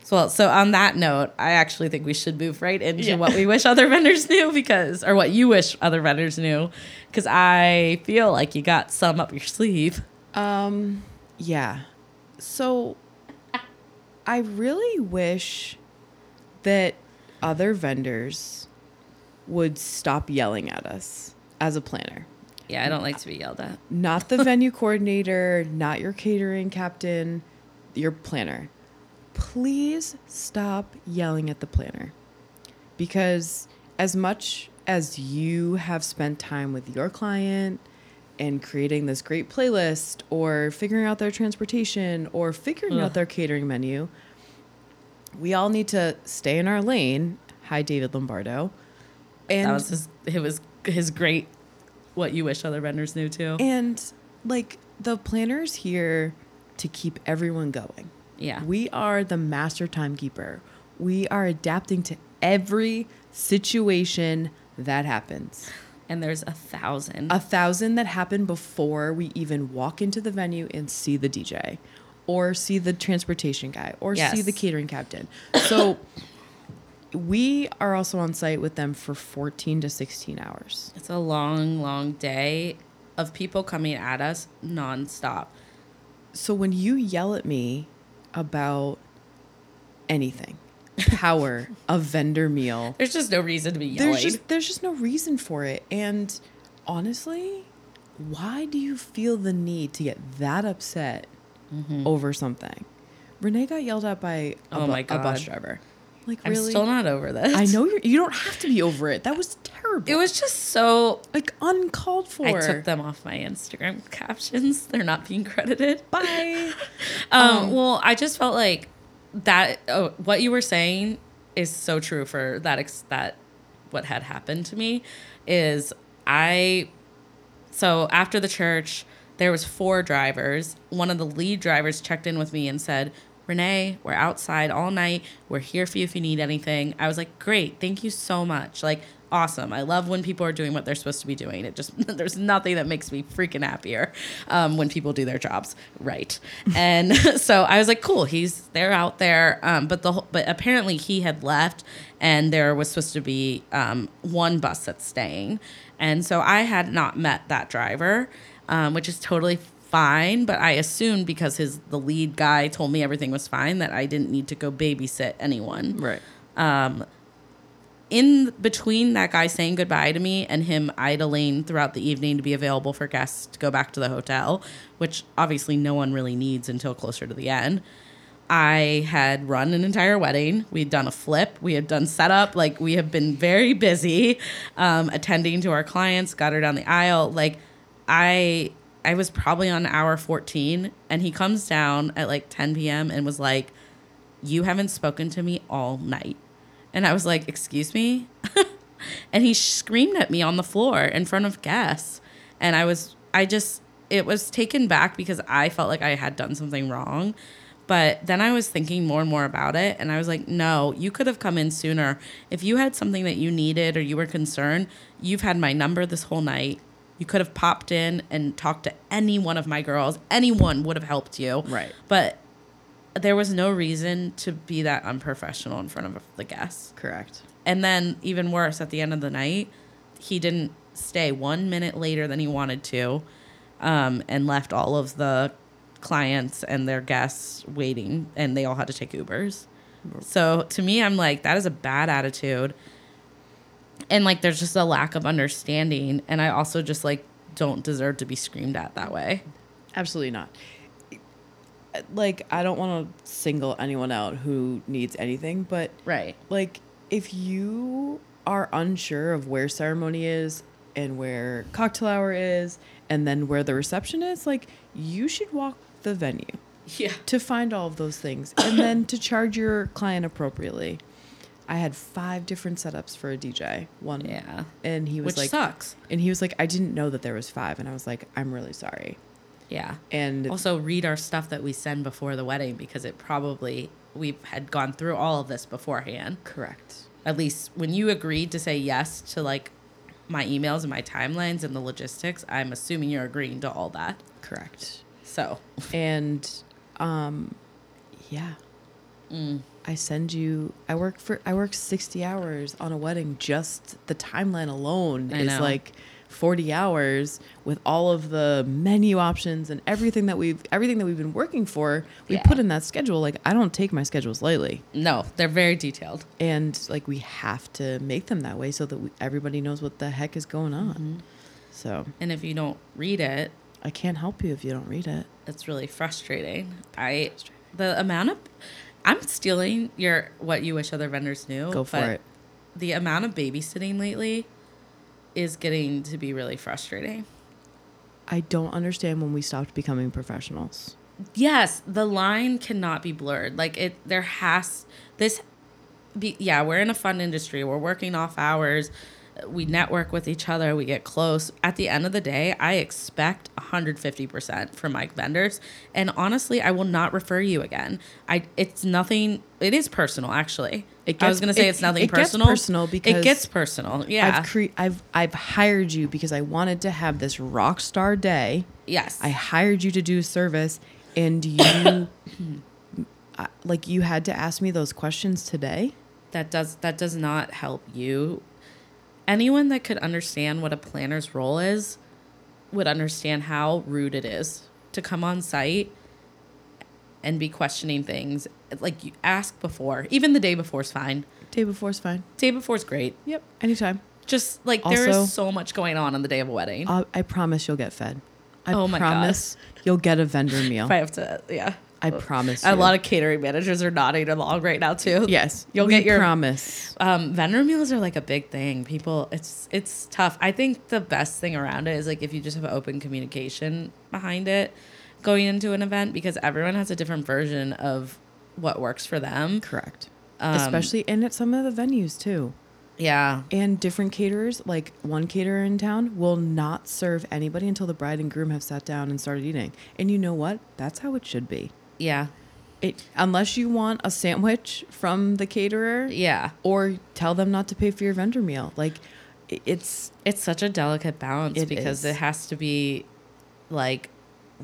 Speaker 1: So, well, so on that note, I actually think we should move right into what we wish other vendors knew because, or what you wish other vendors knew, because I feel like you got some up your sleeve.
Speaker 2: Um, yeah. So I really wish that other vendors would stop yelling at us as a planner.
Speaker 1: Yeah, I don't like to be yelled at.
Speaker 2: Not the venue coordinator, not your catering captain, your planner. Please stop yelling at the planner. Because as much as you have spent time with your client and creating this great playlist or figuring out their transportation or figuring out their catering menu, we all need to stay in our lane. Hi, David Lombardo. And
Speaker 1: That was his, it was his great, what you wish other vendors knew too.
Speaker 2: and like the planners here to keep everyone going.
Speaker 1: Yeah.
Speaker 2: We are the master timekeeper. We are adapting to every situation that happens.
Speaker 1: And there's a thousand.
Speaker 2: A thousand that happen before we even walk into the venue and see the DJ or see the transportation guy or see
Speaker 1: Yes.
Speaker 2: the catering captain. So we are also on site with them for 14 to 16 hours.
Speaker 1: It's a long, long day of people coming at us nonstop.
Speaker 2: so when you yell at me about anything power a vendor meal
Speaker 1: There's just no reason to be yelling.
Speaker 2: there's just there's just no reason for it and honestly why do you feel the need to get that upset over something renee got yelled at by a,
Speaker 1: Mm-hmm. Oh
Speaker 2: bu-
Speaker 1: my
Speaker 2: a bus
Speaker 1: God.
Speaker 2: driver like
Speaker 1: I'm
Speaker 2: really
Speaker 1: still not over this.
Speaker 2: i know you're you don't have to be over it that was terrible
Speaker 1: It was just so.
Speaker 2: like uncalled for
Speaker 1: I took them off my Instagram captions. They're not being credited.
Speaker 2: bye
Speaker 1: Um, well, I just felt like that. Oh, what you were saying is so true for that. Ex- that what had happened to me is I. So after the church, there was four drivers. One of the lead drivers checked in with me and said, "Renee, we're outside all night. We're here for you if you need anything." I was like, "Great, thank you so much." Like. Awesome. I love when people are doing what they're supposed to be doing. It just, there's nothing that makes me freaking happier um, when people do their jobs right. And so I was like, cool, he's they're out there. Um, but the whole- but apparently he had left, and there was supposed to be um, one bus that's staying, and so I had not met that driver, um, which is totally fine. But I assumed because his the lead guy told me everything was fine that I didn't need to go babysit anyone
Speaker 2: right
Speaker 1: in between that guy saying goodbye to me and him idling throughout the evening to be available for guests to go back to the hotel, which obviously no one really needs until closer to the end. I had run an entire wedding. We had done a flip. We had done setup. Like we have been very busy, um, attending to our clients. Got her down the aisle. Like I, I was probably on hour fourteen, and he comes down at like ten p.m. and was like, you haven't spoken to me all night. And I was like, excuse me? and he screamed at me on the floor in front of guests. And I was, I just, it was taken back because I felt like I had done something wrong. But then I was thinking more and more about it. And I was like, no, you could have come in sooner. If you had something that you needed or you were concerned, you've had my number this whole night. You could have popped in and talked to any one of my girls. Anyone would have helped you.
Speaker 2: Right.
Speaker 1: But there was no reason to be that unprofessional in front of the guests.
Speaker 2: correct
Speaker 1: And then even worse, at the end of the night, he didn't stay one minute later than he wanted to, um, and left all of the clients and their guests waiting, and they all had to take Ubers. So to me, I'm like, that is a bad attitude and like there's just a lack of understanding and i also just like don't deserve to be screamed at that way
Speaker 2: Absolutely not. Like, I don't want to single anyone out who needs anything, but
Speaker 1: Right.
Speaker 2: like, if you are unsure of where ceremony is and where cocktail hour is and then where the reception is, like, you should walk the venue
Speaker 1: Yeah.
Speaker 2: to find all of those things and then to charge your client appropriately. I had five different setups for a DJ. One,
Speaker 1: Yeah.
Speaker 2: and he was
Speaker 1: Which
Speaker 2: like,
Speaker 1: sucks.
Speaker 2: and he was like, I didn't know that there was five, and I was like, I'm really sorry.
Speaker 1: Yeah.
Speaker 2: And
Speaker 1: also read our stuff that we send before the wedding because it probably we had gone through all of this beforehand.
Speaker 2: correct,
Speaker 1: At least when you agreed to say yes to like my emails and my timelines and the logistics, I'm assuming you're agreeing to all that.
Speaker 2: correct,
Speaker 1: So
Speaker 2: and um, yeah,
Speaker 1: Mm.
Speaker 2: I send you. I work for I work sixty hours on a wedding. Just the timeline alone
Speaker 1: I
Speaker 2: is
Speaker 1: know.
Speaker 2: like forty hours with all of the menu options and everything that we've everything that we've been working for. We
Speaker 1: Yeah.
Speaker 2: put in that schedule. Like I don't take my schedules lightly.
Speaker 1: no, they're very detailed.
Speaker 2: and like we have to make them that way so that we, everybody knows what the heck is going on
Speaker 1: Mm-hmm.
Speaker 2: so
Speaker 1: And if you don't read it,
Speaker 2: i can't help you if you don't read it
Speaker 1: it's really frustrating. I the amount of I'm stealing your what you wish other vendors knew.
Speaker 2: Go for
Speaker 1: but
Speaker 2: it.
Speaker 1: The amount of babysitting lately is getting to be really frustrating.
Speaker 2: i don't understand when we stopped becoming professionals
Speaker 1: Yes, the line cannot be blurred. Like it there has this be yeah, we're in a fun industry. We're working off hours. We network with each other, we get close. At the end of the day, I expect 150% from my vendors, and honestly, I will not refer you again. I it's nothing it is personal actually.
Speaker 2: It
Speaker 1: I was
Speaker 2: gets-
Speaker 1: going to say
Speaker 2: it-
Speaker 1: it's nothing
Speaker 2: it gets
Speaker 1: personal.
Speaker 2: personal because
Speaker 1: it gets personal. Yeah.
Speaker 2: i've cre- i've i've hired you because i wanted to have this rock star day
Speaker 1: yes.
Speaker 2: i hired you to do service and you I- like you had to ask me those questions today
Speaker 1: that does that does not help you anyone that could understand what a planner's role is would understand how rude it is to come on site and be questioning things like you ask before even the day before is fine
Speaker 2: day before is fine
Speaker 1: day before is great
Speaker 2: yep anytime
Speaker 1: just like there
Speaker 2: Also- Um,
Speaker 1: is so much going on on the day of a wedding
Speaker 2: Uh, i i promise you'll get fed i
Speaker 1: Oh my God.
Speaker 2: promise you'll get a vendor meal
Speaker 1: if i have to yeah
Speaker 2: I promise.
Speaker 1: a
Speaker 2: you.
Speaker 1: lot of catering managers are nodding along right now too
Speaker 2: yes.
Speaker 1: you'll
Speaker 2: we
Speaker 1: get your
Speaker 2: promise.
Speaker 1: um, vendor meals are like a big thing. People, it's it's tough. I think the best thing around it is like if you just have open communication behind it, going into an event because everyone has a different version of what works for them.
Speaker 2: Correct. Especially and at some of the venues too,
Speaker 1: Yeah,
Speaker 2: and different caterers. Like one caterer in town will not serve anybody until the bride and groom have sat down and started eating. And you know what? That's how it should be.
Speaker 1: yeah,
Speaker 2: It unless you want a sandwich from the caterer,
Speaker 1: yeah.
Speaker 2: or tell them not to pay for your vendor meal. Like i- it's
Speaker 1: It's such a delicate balance
Speaker 2: It
Speaker 1: because
Speaker 2: is.
Speaker 1: it has to be like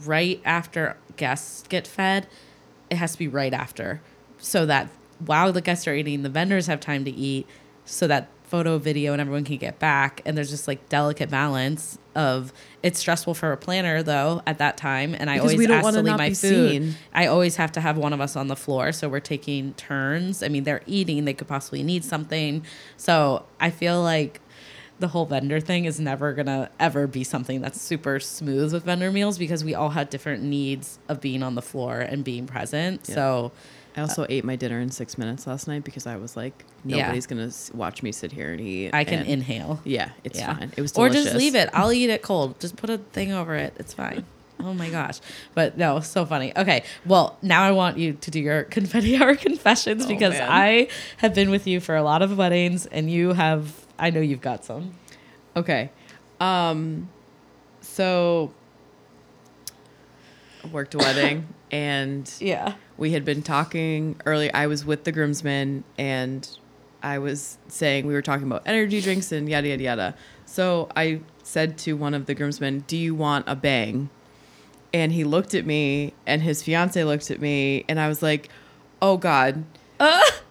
Speaker 1: right after guests get fed, it has to be right after so that while the guests are eating, the vendors have time to eat so that photo, video, and everyone can get back. And there's just like delicate balance of it's stressful for a planner though at that time. And I
Speaker 2: Because we
Speaker 1: always
Speaker 2: don't
Speaker 1: ask
Speaker 2: wanna
Speaker 1: to leave
Speaker 2: not
Speaker 1: my
Speaker 2: be
Speaker 1: food.
Speaker 2: seen.
Speaker 1: I always have to have one of us on the floor, so we're taking turns. I mean, they're eating; they could possibly need something. So I feel like the whole vendor thing is never gonna ever be something that's super smooth with vendor meals because we all had different needs of being on the floor and being present. So
Speaker 2: I also ate my dinner in six minutes last night because I was like,
Speaker 1: Uh, Yeah.
Speaker 2: nobody's gonna s- watch me sit here and eat.
Speaker 1: I can
Speaker 2: and-
Speaker 1: inhale.
Speaker 2: Yeah, it's fine. It was
Speaker 1: or
Speaker 2: delicious.
Speaker 1: just leave it. I'll eat it cold. Just put a thing over it. It's fine. oh my gosh, but no, so funny. Okay, well now I want you to do your confetti hour confessions because
Speaker 2: man.
Speaker 1: I have been with you for a lot of weddings and you have. I know you've got some.
Speaker 2: Okay. Um so I worked a wedding and
Speaker 1: Yeah.
Speaker 2: we had been talking early I was with the groomsmen and I was saying we were talking about energy drinks and yada yada yada. So I said to one of the groomsmen, "Do you want a bang?" And he looked at me and his fiance looked at me and I was like, "Oh god."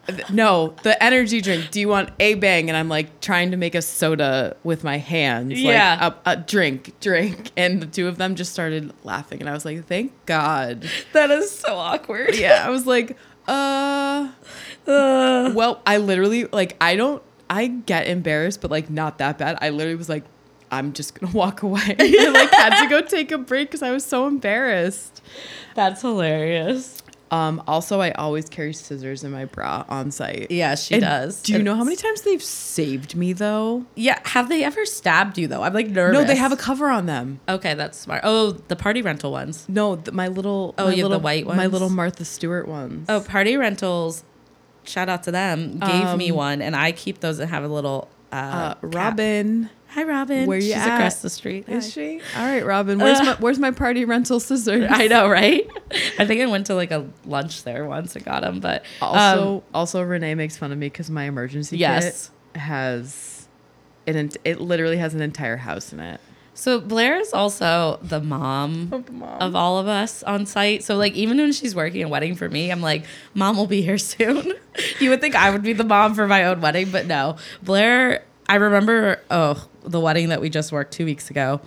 Speaker 2: Th- no, the energy drink. Do you want a bang? And I'm like trying to make a soda with my hands.
Speaker 1: Yeah.
Speaker 2: Like, a, a drink, drink. And the two of them just started laughing. And I was like, thank God.
Speaker 1: That is so awkward.
Speaker 2: Yeah. I was like, uh,
Speaker 1: Uh.
Speaker 2: well, I literally, like, I don't, I get embarrassed, but like, not that bad. I literally was like, I'm just gonna walk away. I like had to go take a break because I was so embarrassed.
Speaker 1: That's hilarious.
Speaker 2: Um, also, I always carry scissors in my bra on site.
Speaker 1: Yeah, she
Speaker 2: And
Speaker 1: does.
Speaker 2: Do you
Speaker 1: And
Speaker 2: know how many
Speaker 1: it's-
Speaker 2: times they've saved me though?
Speaker 1: Yeah, have they ever stabbed you though? I'm like nervous.
Speaker 2: No, they have a cover on them.
Speaker 1: Okay, that's smart. Oh, the party rental ones.
Speaker 2: No, th- my little
Speaker 1: Oh,
Speaker 2: my
Speaker 1: you have the
Speaker 2: little,
Speaker 1: white
Speaker 2: my
Speaker 1: ones?
Speaker 2: little Martha Stewart ones.
Speaker 1: Oh, party rentals. Shout out to them. Gave me one, and I keep those and have a little. Uh,
Speaker 2: Um, uh,
Speaker 1: cap.
Speaker 2: Robin.
Speaker 1: Hi, Robin.
Speaker 2: Where you
Speaker 1: She's
Speaker 2: at?
Speaker 1: across the street. Hi.
Speaker 2: Is she? All right, Robin. Where's my where's my party rental scissors?
Speaker 1: I know, right? I think I went to like a lunch there once and got them, but um,
Speaker 2: Also, also Renee makes fun of me because my emergency
Speaker 1: Yes.
Speaker 2: kit has it. ent- It literally has an entire house in it.
Speaker 1: So Blair is also the mom, of all of us on site. So like even when she's working a wedding for me, I'm like, mom will be here soon. you would think I would be the mom for my own wedding, but no. Blair, I remember oh, the wedding that we just worked two weeks ago.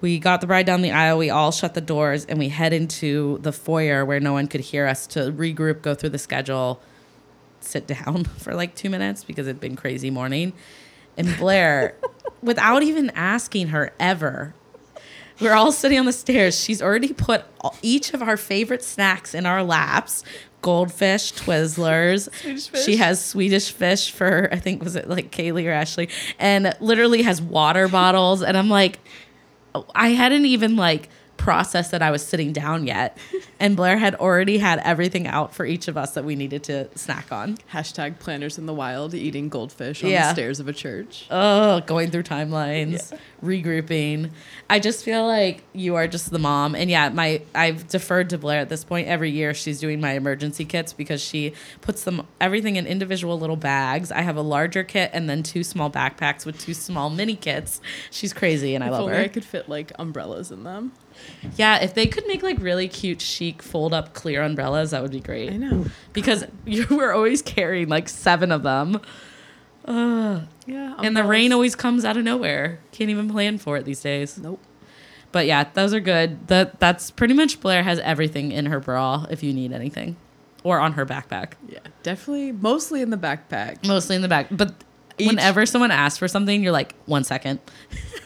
Speaker 1: We got the bride down the aisle, we all shut the doors and we head into the foyer where no one could hear us to regroup, go through the schedule, sit down for like two minutes because it'd been crazy morning. And Blair, without even asking her ever, we're all sitting on the stairs. She's already put all- each of our favorite snacks in our laps. Goldfish, Twizzlers. She has Swedish fish for I think was it like Kaylee or Ashley, and literally has water bottles. And I'm like, I hadn't even like processed that I was sitting down yet, and Blair had already had everything out for each of us that we needed to snack on.
Speaker 2: Hashtag planners in the wild eating goldfish on
Speaker 1: Yeah.
Speaker 2: the stairs of a church.
Speaker 1: oh, going through timelines, regrouping. I just feel like you are just the mom. And yeah, my I've deferred to Blair at this point. Every year she's doing my emergency kits because she puts them everything in individual little bags. I have a larger kit and then two small backpacks with two small mini kits. She's crazy and I
Speaker 2: If
Speaker 1: love
Speaker 2: only
Speaker 1: her.
Speaker 2: I could fit like umbrellas in them.
Speaker 1: Yeah, if they could make like really cute, chic, fold up clear umbrellas, that would be great.
Speaker 2: I know.
Speaker 1: Because you were always carrying like seven of them. Ugh.
Speaker 2: Yeah. um,
Speaker 1: and the rain always comes out of nowhere. Can't even plan for it these days.
Speaker 2: Nope.
Speaker 1: But yeah, those are good. That that's pretty much Blair has everything in her bra if you need anything, or on her backpack,
Speaker 2: Yeah. Definitely. Mostly in the backpack.
Speaker 1: mostly in the back. But whenever someone asks for something, you're like, one second.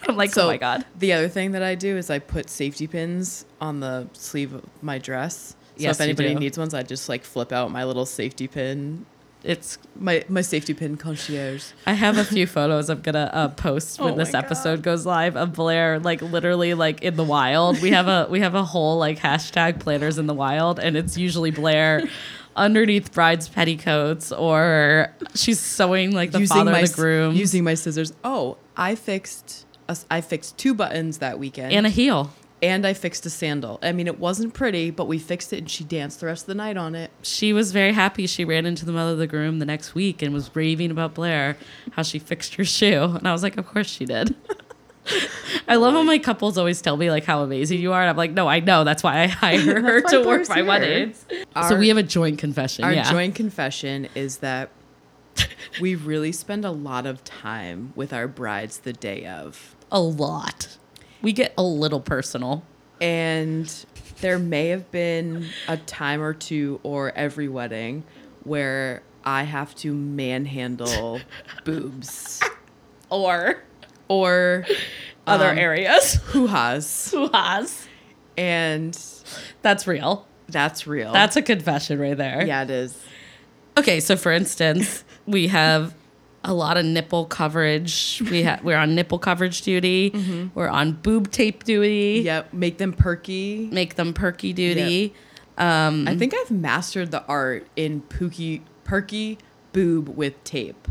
Speaker 1: I'm like, oh my god.
Speaker 2: The other thing that I do is I put safety pins on the sleeve of my dress. So
Speaker 1: Yes,
Speaker 2: if
Speaker 1: you
Speaker 2: anybody
Speaker 1: do.
Speaker 2: needs ones, I just like flip out my little safety pin,
Speaker 1: It's
Speaker 2: my my safety pin concierge.
Speaker 1: I have a few photos I'm gonna uh, post when
Speaker 2: Oh
Speaker 1: this
Speaker 2: my God.
Speaker 1: episode goes live of Blair like literally like in the wild. We have a we have a whole like hashtag planners in the wild, and it's usually Blair underneath bride's petticoats or she's sewing like the father
Speaker 2: my
Speaker 1: of
Speaker 2: s-
Speaker 1: the groom
Speaker 2: using my scissors. Oh, I fixed a s- I fixed two buttons that weekend,
Speaker 1: and a heel.
Speaker 2: and I fixed a sandal. I mean, it wasn't pretty, but we fixed it, and she danced the rest of the night on it.
Speaker 1: She was very happy. She ran into the mother of the groom the next week and was raving about Blair, how she fixed her shoe. And I was like, of course she did. I love how my couples always tell me like how amazing you are, and I'm like, no, I know. That's why I hire her
Speaker 2: That's
Speaker 1: to
Speaker 2: why
Speaker 1: work
Speaker 2: Blair's
Speaker 1: my
Speaker 2: here.
Speaker 1: weddings. so
Speaker 2: Our-
Speaker 1: we have a joint confession.
Speaker 2: Our
Speaker 1: yeah.
Speaker 2: joint confession is that we really spend a lot of time with our brides the day of.
Speaker 1: a lot. We get a little personal.
Speaker 2: And there may have been a time or two or every wedding where I have to manhandle boobs
Speaker 1: Or
Speaker 2: or
Speaker 1: other
Speaker 2: um,
Speaker 1: areas.
Speaker 2: hoo-has.
Speaker 1: Tuas.
Speaker 2: And
Speaker 1: That's real.
Speaker 2: that's real.
Speaker 1: That's a confession right there.
Speaker 2: yeah, it is.
Speaker 1: Okay, so for instance, we have a lot of nipple coverage. We ha- we're on nipple coverage duty.
Speaker 2: Mm-hmm.
Speaker 1: We're on boob tape duty.
Speaker 2: Yep, make them perky.
Speaker 1: Make them perky duty. Um,
Speaker 2: I think I've mastered the art in pooky perky boob with tape.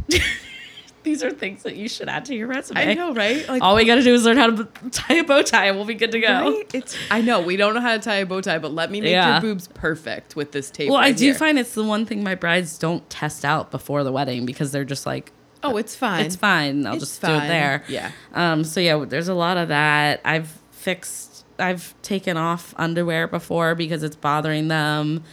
Speaker 1: these are things that you should add to your resume.
Speaker 2: I know, right? Like
Speaker 1: All we got to do is learn how to b- tie a bow tie and we'll be good to go.
Speaker 2: Right? It's I know we don't know how to tie a bow tie, but let me make
Speaker 1: Yeah.
Speaker 2: your boobs perfect with this tape.
Speaker 1: Well, I
Speaker 2: right
Speaker 1: do
Speaker 2: here.
Speaker 1: find it's the one thing my brides don't test out before the wedding because they're just like,
Speaker 2: Oh, it's fine.
Speaker 1: It's fine. I'll
Speaker 2: It's
Speaker 1: just do it
Speaker 2: fine.
Speaker 1: there.
Speaker 2: Yeah.
Speaker 1: Um. So yeah, there's a lot of that. I've fixed. I've taken off underwear before because it's bothering them.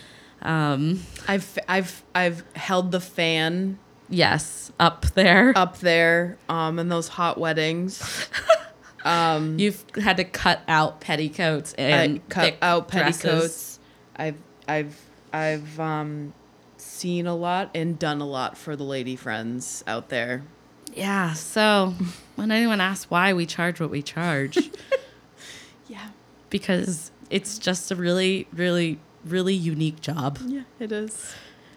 Speaker 1: Um.
Speaker 2: I've I've I've held the fan
Speaker 1: Yes, up there.
Speaker 2: up there um in those hot weddings. um
Speaker 1: You've had to cut out petticoats and
Speaker 2: I cut
Speaker 1: thick
Speaker 2: out
Speaker 1: dresses.
Speaker 2: petticoats. I've I've I've um seen a lot and done a lot for the lady friends out there.
Speaker 1: Yeah. So when anyone asks why we charge what we charge,
Speaker 2: Yeah.
Speaker 1: because it's just a really, really, really unique job
Speaker 2: Yeah, it is.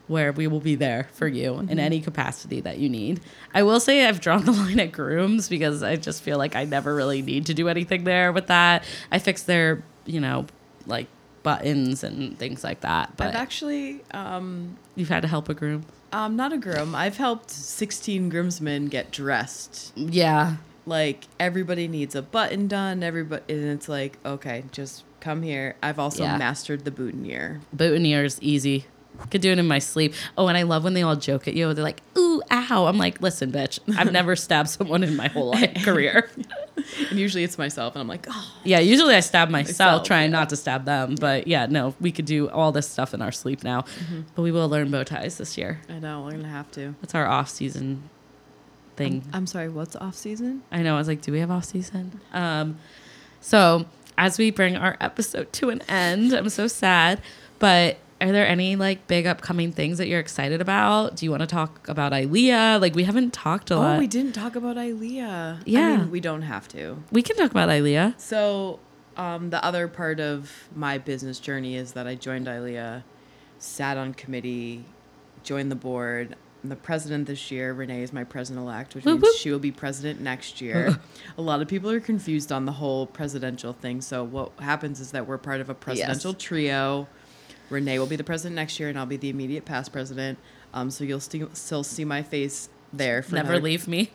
Speaker 1: where we will be there for you in any capacity that you need. I will say I've drawn the line at grooms because I just feel like I never really need to do anything there with that. I fix their, you know, like buttons and things like that. But
Speaker 2: I've actually um
Speaker 1: you've had to help a groom.
Speaker 2: um not a groom. I've helped 16 groomsmen get dressed.
Speaker 1: Yeah.
Speaker 2: Like everybody needs a button done, everybody and it's like, okay, just come here. I've also
Speaker 1: Yeah.
Speaker 2: mastered the boutonniere.
Speaker 1: Boutonniere's easy. Could do it in my sleep. Oh, and I love when they all joke at you. They're like, ooh, ow. I'm like, listen, bitch, I've never stabbed someone in my whole life career.
Speaker 2: And usually it's myself and I'm like, "Oh,
Speaker 1: yeah, usually I stab myself,
Speaker 2: Myself,
Speaker 1: trying not to stab them. But yeah, no, we could do all this stuff in our sleep now.
Speaker 2: Mm-hmm.
Speaker 1: But we will learn bow ties this year.
Speaker 2: I know, we're going to have to."
Speaker 1: That's our off season thing.
Speaker 2: I'm sorry, what's off season?
Speaker 1: I know. I was like, do we have off season? Um, so as we bring our episode to an end, I'm so sad. But are there any like big upcoming things that you're excited about? Do you want to talk about ILEA? Like we haven't talked a lot.
Speaker 2: Oh, we
Speaker 1: We,
Speaker 2: didn't talk about Ilea. I
Speaker 1: Yeah.
Speaker 2: mean, we don't have to.
Speaker 1: can talk about ILEA.
Speaker 2: So, um, the other part of my business journey is that I joined ILEA, sat on committee, joined the board. I'm the president this year. Renee is my president elect, which
Speaker 1: Whoop,
Speaker 2: means
Speaker 1: whoop.
Speaker 2: she will be president next year. a lot of people are confused on the whole presidential thing. So, what happens is that we're part of a presidential trio. Renee will be the president next year, and I'll be the immediate past president. Um, so, you'll sti- still see my face there for
Speaker 1: Never
Speaker 2: another
Speaker 1: leave me.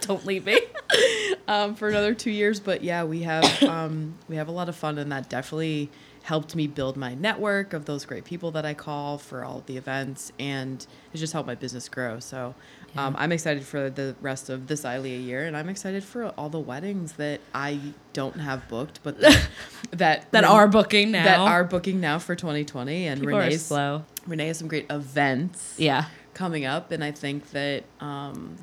Speaker 1: Don't leave me.
Speaker 2: um, for another two years. But yeah, we have um, we have a lot of fun, and that definitely helped me build my network of those great people that I call for all the events, and it just helped my business grow. So um, I'm excited for the rest of this ILEA year, and I'm excited for all the weddings that I don't have booked, but that that,
Speaker 1: That
Speaker 2: Ren-
Speaker 1: are booking now.
Speaker 2: that are booking now for 2020, and
Speaker 1: People are
Speaker 2: Renee's
Speaker 1: slow.
Speaker 2: Renee has some great events
Speaker 1: Yeah.
Speaker 2: coming up, and I think that um,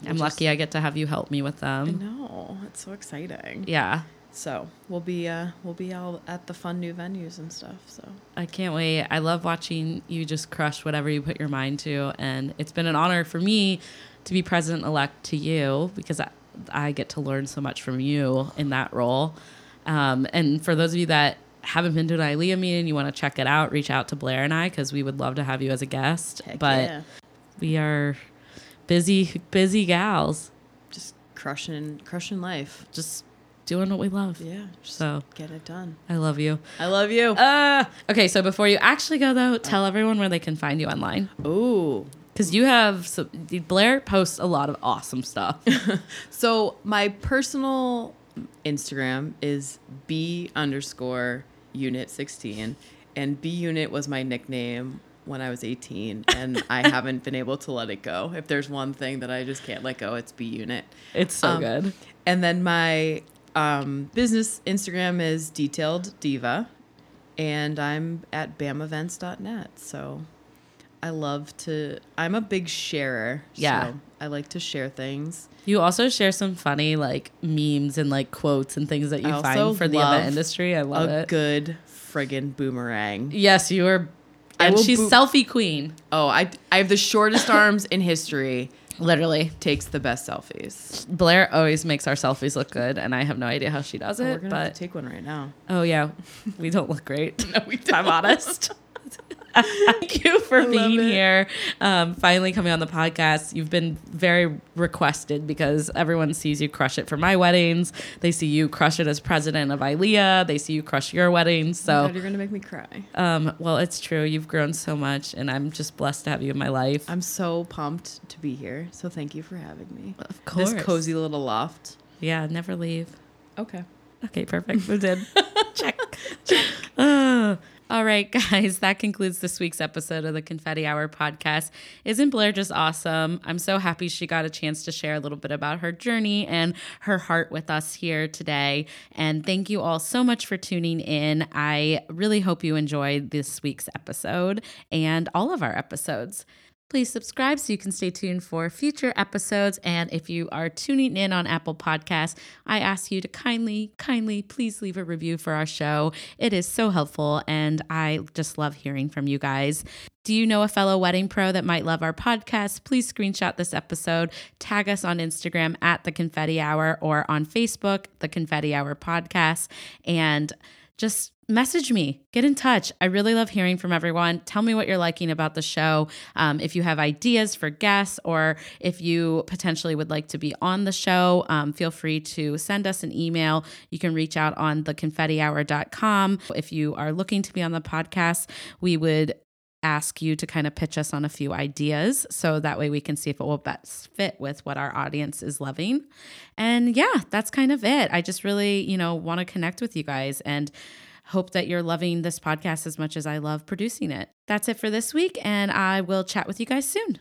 Speaker 1: I'm
Speaker 2: just-
Speaker 1: lucky I get to have you help me with
Speaker 2: I
Speaker 1: them.
Speaker 2: know it's so exciting.
Speaker 1: Mm. Yeah.
Speaker 2: So we'll be uh we'll be all at the fun new venues and stuff. So
Speaker 1: I can't wait. I love watching you just crush whatever you put your mind to. And it's been an honor for me to be president elect to you because I, I get to learn so much from you in that role. Um, and for those of you that haven't been to an ILEA meeting, you want to check it out, reach out to Blair and I because we would love to have you as a guest.
Speaker 2: heck
Speaker 1: but
Speaker 2: yeah.
Speaker 1: we are busy, busy gals
Speaker 2: just crushing crushing life.
Speaker 1: just doing what we love.
Speaker 2: Yeah. Just
Speaker 1: So
Speaker 2: get it done.
Speaker 1: I love you.
Speaker 2: I love you.
Speaker 1: Uh, okay, so before you actually go though, tell everyone where they can find you online. Oh.
Speaker 2: Ooh.
Speaker 1: Because you have so, Blair posts a lot of awesome stuff.
Speaker 2: So my personal Instagram is B underscore unit sixteen and B unit was my nickname when I was 18 and I haven't been able to let it go. If there's one thing that I just can't let go, it's B unit.
Speaker 1: It's so
Speaker 2: Um,
Speaker 1: good.
Speaker 2: And then my um, business Instagram is detailed diva, and I'm at bamevents.net. So I love to. I'm a big sharer.
Speaker 1: Yeah.
Speaker 2: so I like to share things.
Speaker 1: You also share some funny like memes and like quotes and things that you
Speaker 2: I also
Speaker 1: find for the
Speaker 2: love
Speaker 1: event industry. I love
Speaker 2: a
Speaker 1: it.
Speaker 2: good friggin' boomerang.
Speaker 1: yes, you are.
Speaker 2: I
Speaker 1: And
Speaker 2: will
Speaker 1: she's
Speaker 2: boo-
Speaker 1: selfie queen,
Speaker 2: Oh, I I have the shortest arms in history.
Speaker 1: literally.
Speaker 2: Takes the best selfies.
Speaker 1: Blair always makes our selfies look good, and I have no idea how she does
Speaker 2: Oh, We're
Speaker 1: it.
Speaker 2: gonna have
Speaker 1: but
Speaker 2: to take one right now.
Speaker 1: oh yeah, we don't look great. no, we don't. I'm honest. Thank you for being
Speaker 2: it.
Speaker 1: here. Um, finally coming on the podcast. You've been very requested because everyone sees you crush it for my weddings. They see you crush it as president of ILEA. They see you crush your weddings.
Speaker 2: God,
Speaker 1: So,
Speaker 2: you're gonna make me cry.
Speaker 1: um, well, it's true. You've grown so much, and I'm just blessed to have you in my life.
Speaker 2: I'm so pumped to be here. So thank you for having me.
Speaker 1: Of
Speaker 2: This cozy little loft.
Speaker 1: Yeah, never leave.
Speaker 2: Okay.
Speaker 1: Okay, perfect. We did. Check. Check. Uh, all right, guys, that concludes this week's episode of the Confetti Hour podcast. Isn't Blair just awesome? I'm so happy she got a chance to share a little bit about her journey and her heart with us here today. And thank you all so much for tuning in. I really hope you enjoyed this week's episode and all of our episodes. Please subscribe so you can stay tuned for future episodes. And if you are tuning in on Apple Podcasts, I ask you to kindly, kindly please leave a review for our show. It is so helpful, and I just love hearing from you guys. Do you know a fellow wedding pro that might love our podcast? Please screenshot this episode, tag us on Instagram at The Confetti Hour or on Facebook, The Confetti Hour Podcast, and just message me, get in touch. I really love hearing from everyone. Tell me what you're liking about the show. Um, if you have ideas for guests or if you potentially would like to be on the show, um, feel free to send us an email. You can reach out on theconfettihour.com. If you are looking to be on the podcast, we would ask you to kind of pitch us on a few ideas so that way we can see if it will best fit with what our audience is loving. And yeah, that's kind of it. I just really, you know, want to connect with you guys and hope that you're loving this podcast as much as I love producing it. That's it for this week and I will chat with you guys soon.